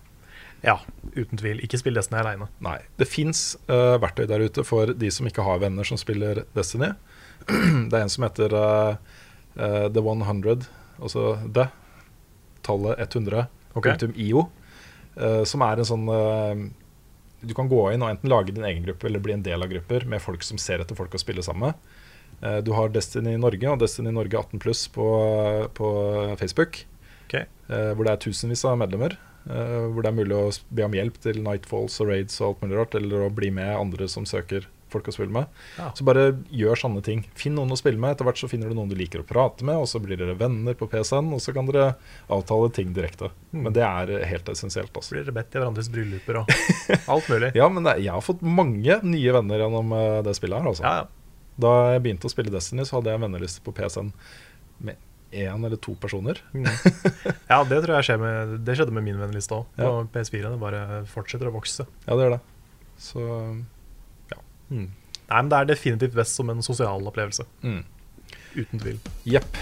Speaker 1: Ja, uten tvil. Ikke spill Destiny aleine.
Speaker 2: Nei. Det fins verktøy der ute for de som ikke har venner som spiller Destiny. det er en som heter eh, eh, The 100, altså The, tallet 100,
Speaker 1: Ok.
Speaker 2: punktum IO, eh, som er en sånn eh, Du kan gå inn og enten lage din egen gruppe eller bli en del av grupper med folk som ser etter folk å spille sammen med. Eh, du har Destiny Norge og Destiny Norge 18 pluss på, på Facebook.
Speaker 1: Ok.
Speaker 2: Eh, hvor det er tusenvis av medlemmer. eh, hvor det er mulig å s- be om hjelp til Nightfalls og raids og alt mulig rart. Eller å bli med andre som søker folk å spille med.
Speaker 1: Ja.
Speaker 2: Så bare gjør sånne ting. Finn noen å spille med. Etter hvert så finner du noen du liker å prate med, og så blir dere venner på PC-en, og så kan dere avtale ting direkte.
Speaker 1: Hmm.
Speaker 2: Men det er helt essensielt. Altså.
Speaker 1: Blir det bedt i hverandres brylluper og alt mulig.
Speaker 2: Ja, men det, jeg har fått mange nye venner gjennom eh, det spillet her, altså.
Speaker 1: Ja, ja.
Speaker 2: Da jeg begynte å spille Destiny, så hadde jeg en venneliste på PC-en med én eller to personer.
Speaker 1: Ja, det tror jeg skjer med, det skjedde med min venneliste òg. På
Speaker 2: Ja.
Speaker 1: PS4. Det bare fortsetter å vokse.
Speaker 2: Ja, det gjør det. Så ja.
Speaker 1: Nei, men Det er definitivt best som en sosial opplevelse.
Speaker 2: Mm.
Speaker 1: Uten tvil.
Speaker 2: Jepp.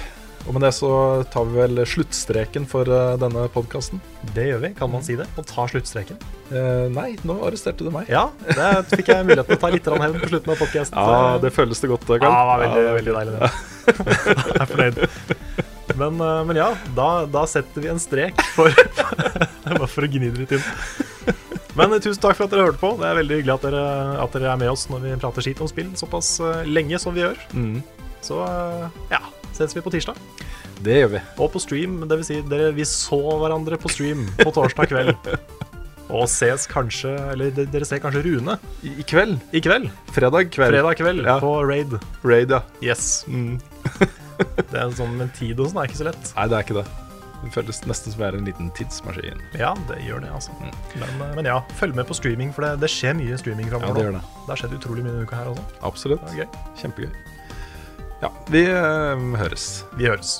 Speaker 2: Og med det så tar vi vel sluttstreken for eh, denne podkasten.
Speaker 1: Det gjør vi, kan man si det. Og ta sluttstreken.
Speaker 2: Eh, nei, nå arresterte du meg.
Speaker 1: Ja, der fikk jeg muligheten til å ta litt grann hevn på slutten av podkasten.
Speaker 2: Ja, det føles det godt, eh, Karl.
Speaker 1: var veldig, veldig deilig, det. jeg er fornøyd. Men, eh, men ja, da, da setter vi en strek for Bare for å gni det litt inn. Men eh, tusen takk for at dere hørte på. Det er veldig hyggelig at dere, at dere er med oss når vi prater skit om spill såpass eh, lenge som vi gjør.
Speaker 2: Mm.
Speaker 1: Så eh, ja, ses vi på tirsdag.
Speaker 2: Det gjør vi.
Speaker 1: Og på stream, det vil si dere, vi så hverandre på stream på torsdag kveld. Og ses kanskje, eller de- dere ser kanskje Rune
Speaker 2: I, i kveld.
Speaker 1: i kveld.
Speaker 2: Fredag kveld.
Speaker 1: Fredag kveld
Speaker 2: Ja.
Speaker 1: på Raid.
Speaker 2: Raid, ja.
Speaker 1: Yes. Mm. Det er en sånn med tid og sånn er ikke så lett.
Speaker 2: Nei, det er ikke det. Det føles nesten som jeg er en liten tidsmaskin.
Speaker 1: Ja, det gjør det, altså. Men, eh, men ja, følg med på streaming, for det, det skjer mye streaming
Speaker 2: Ja,
Speaker 1: framover.
Speaker 2: det gjør det.
Speaker 1: det har skjedd utrolig mye denne uka her også.
Speaker 2: Absolutt.
Speaker 1: Det er gøy.
Speaker 2: Kjempegøy. Ja, vi eh, høres.
Speaker 1: Vi høres.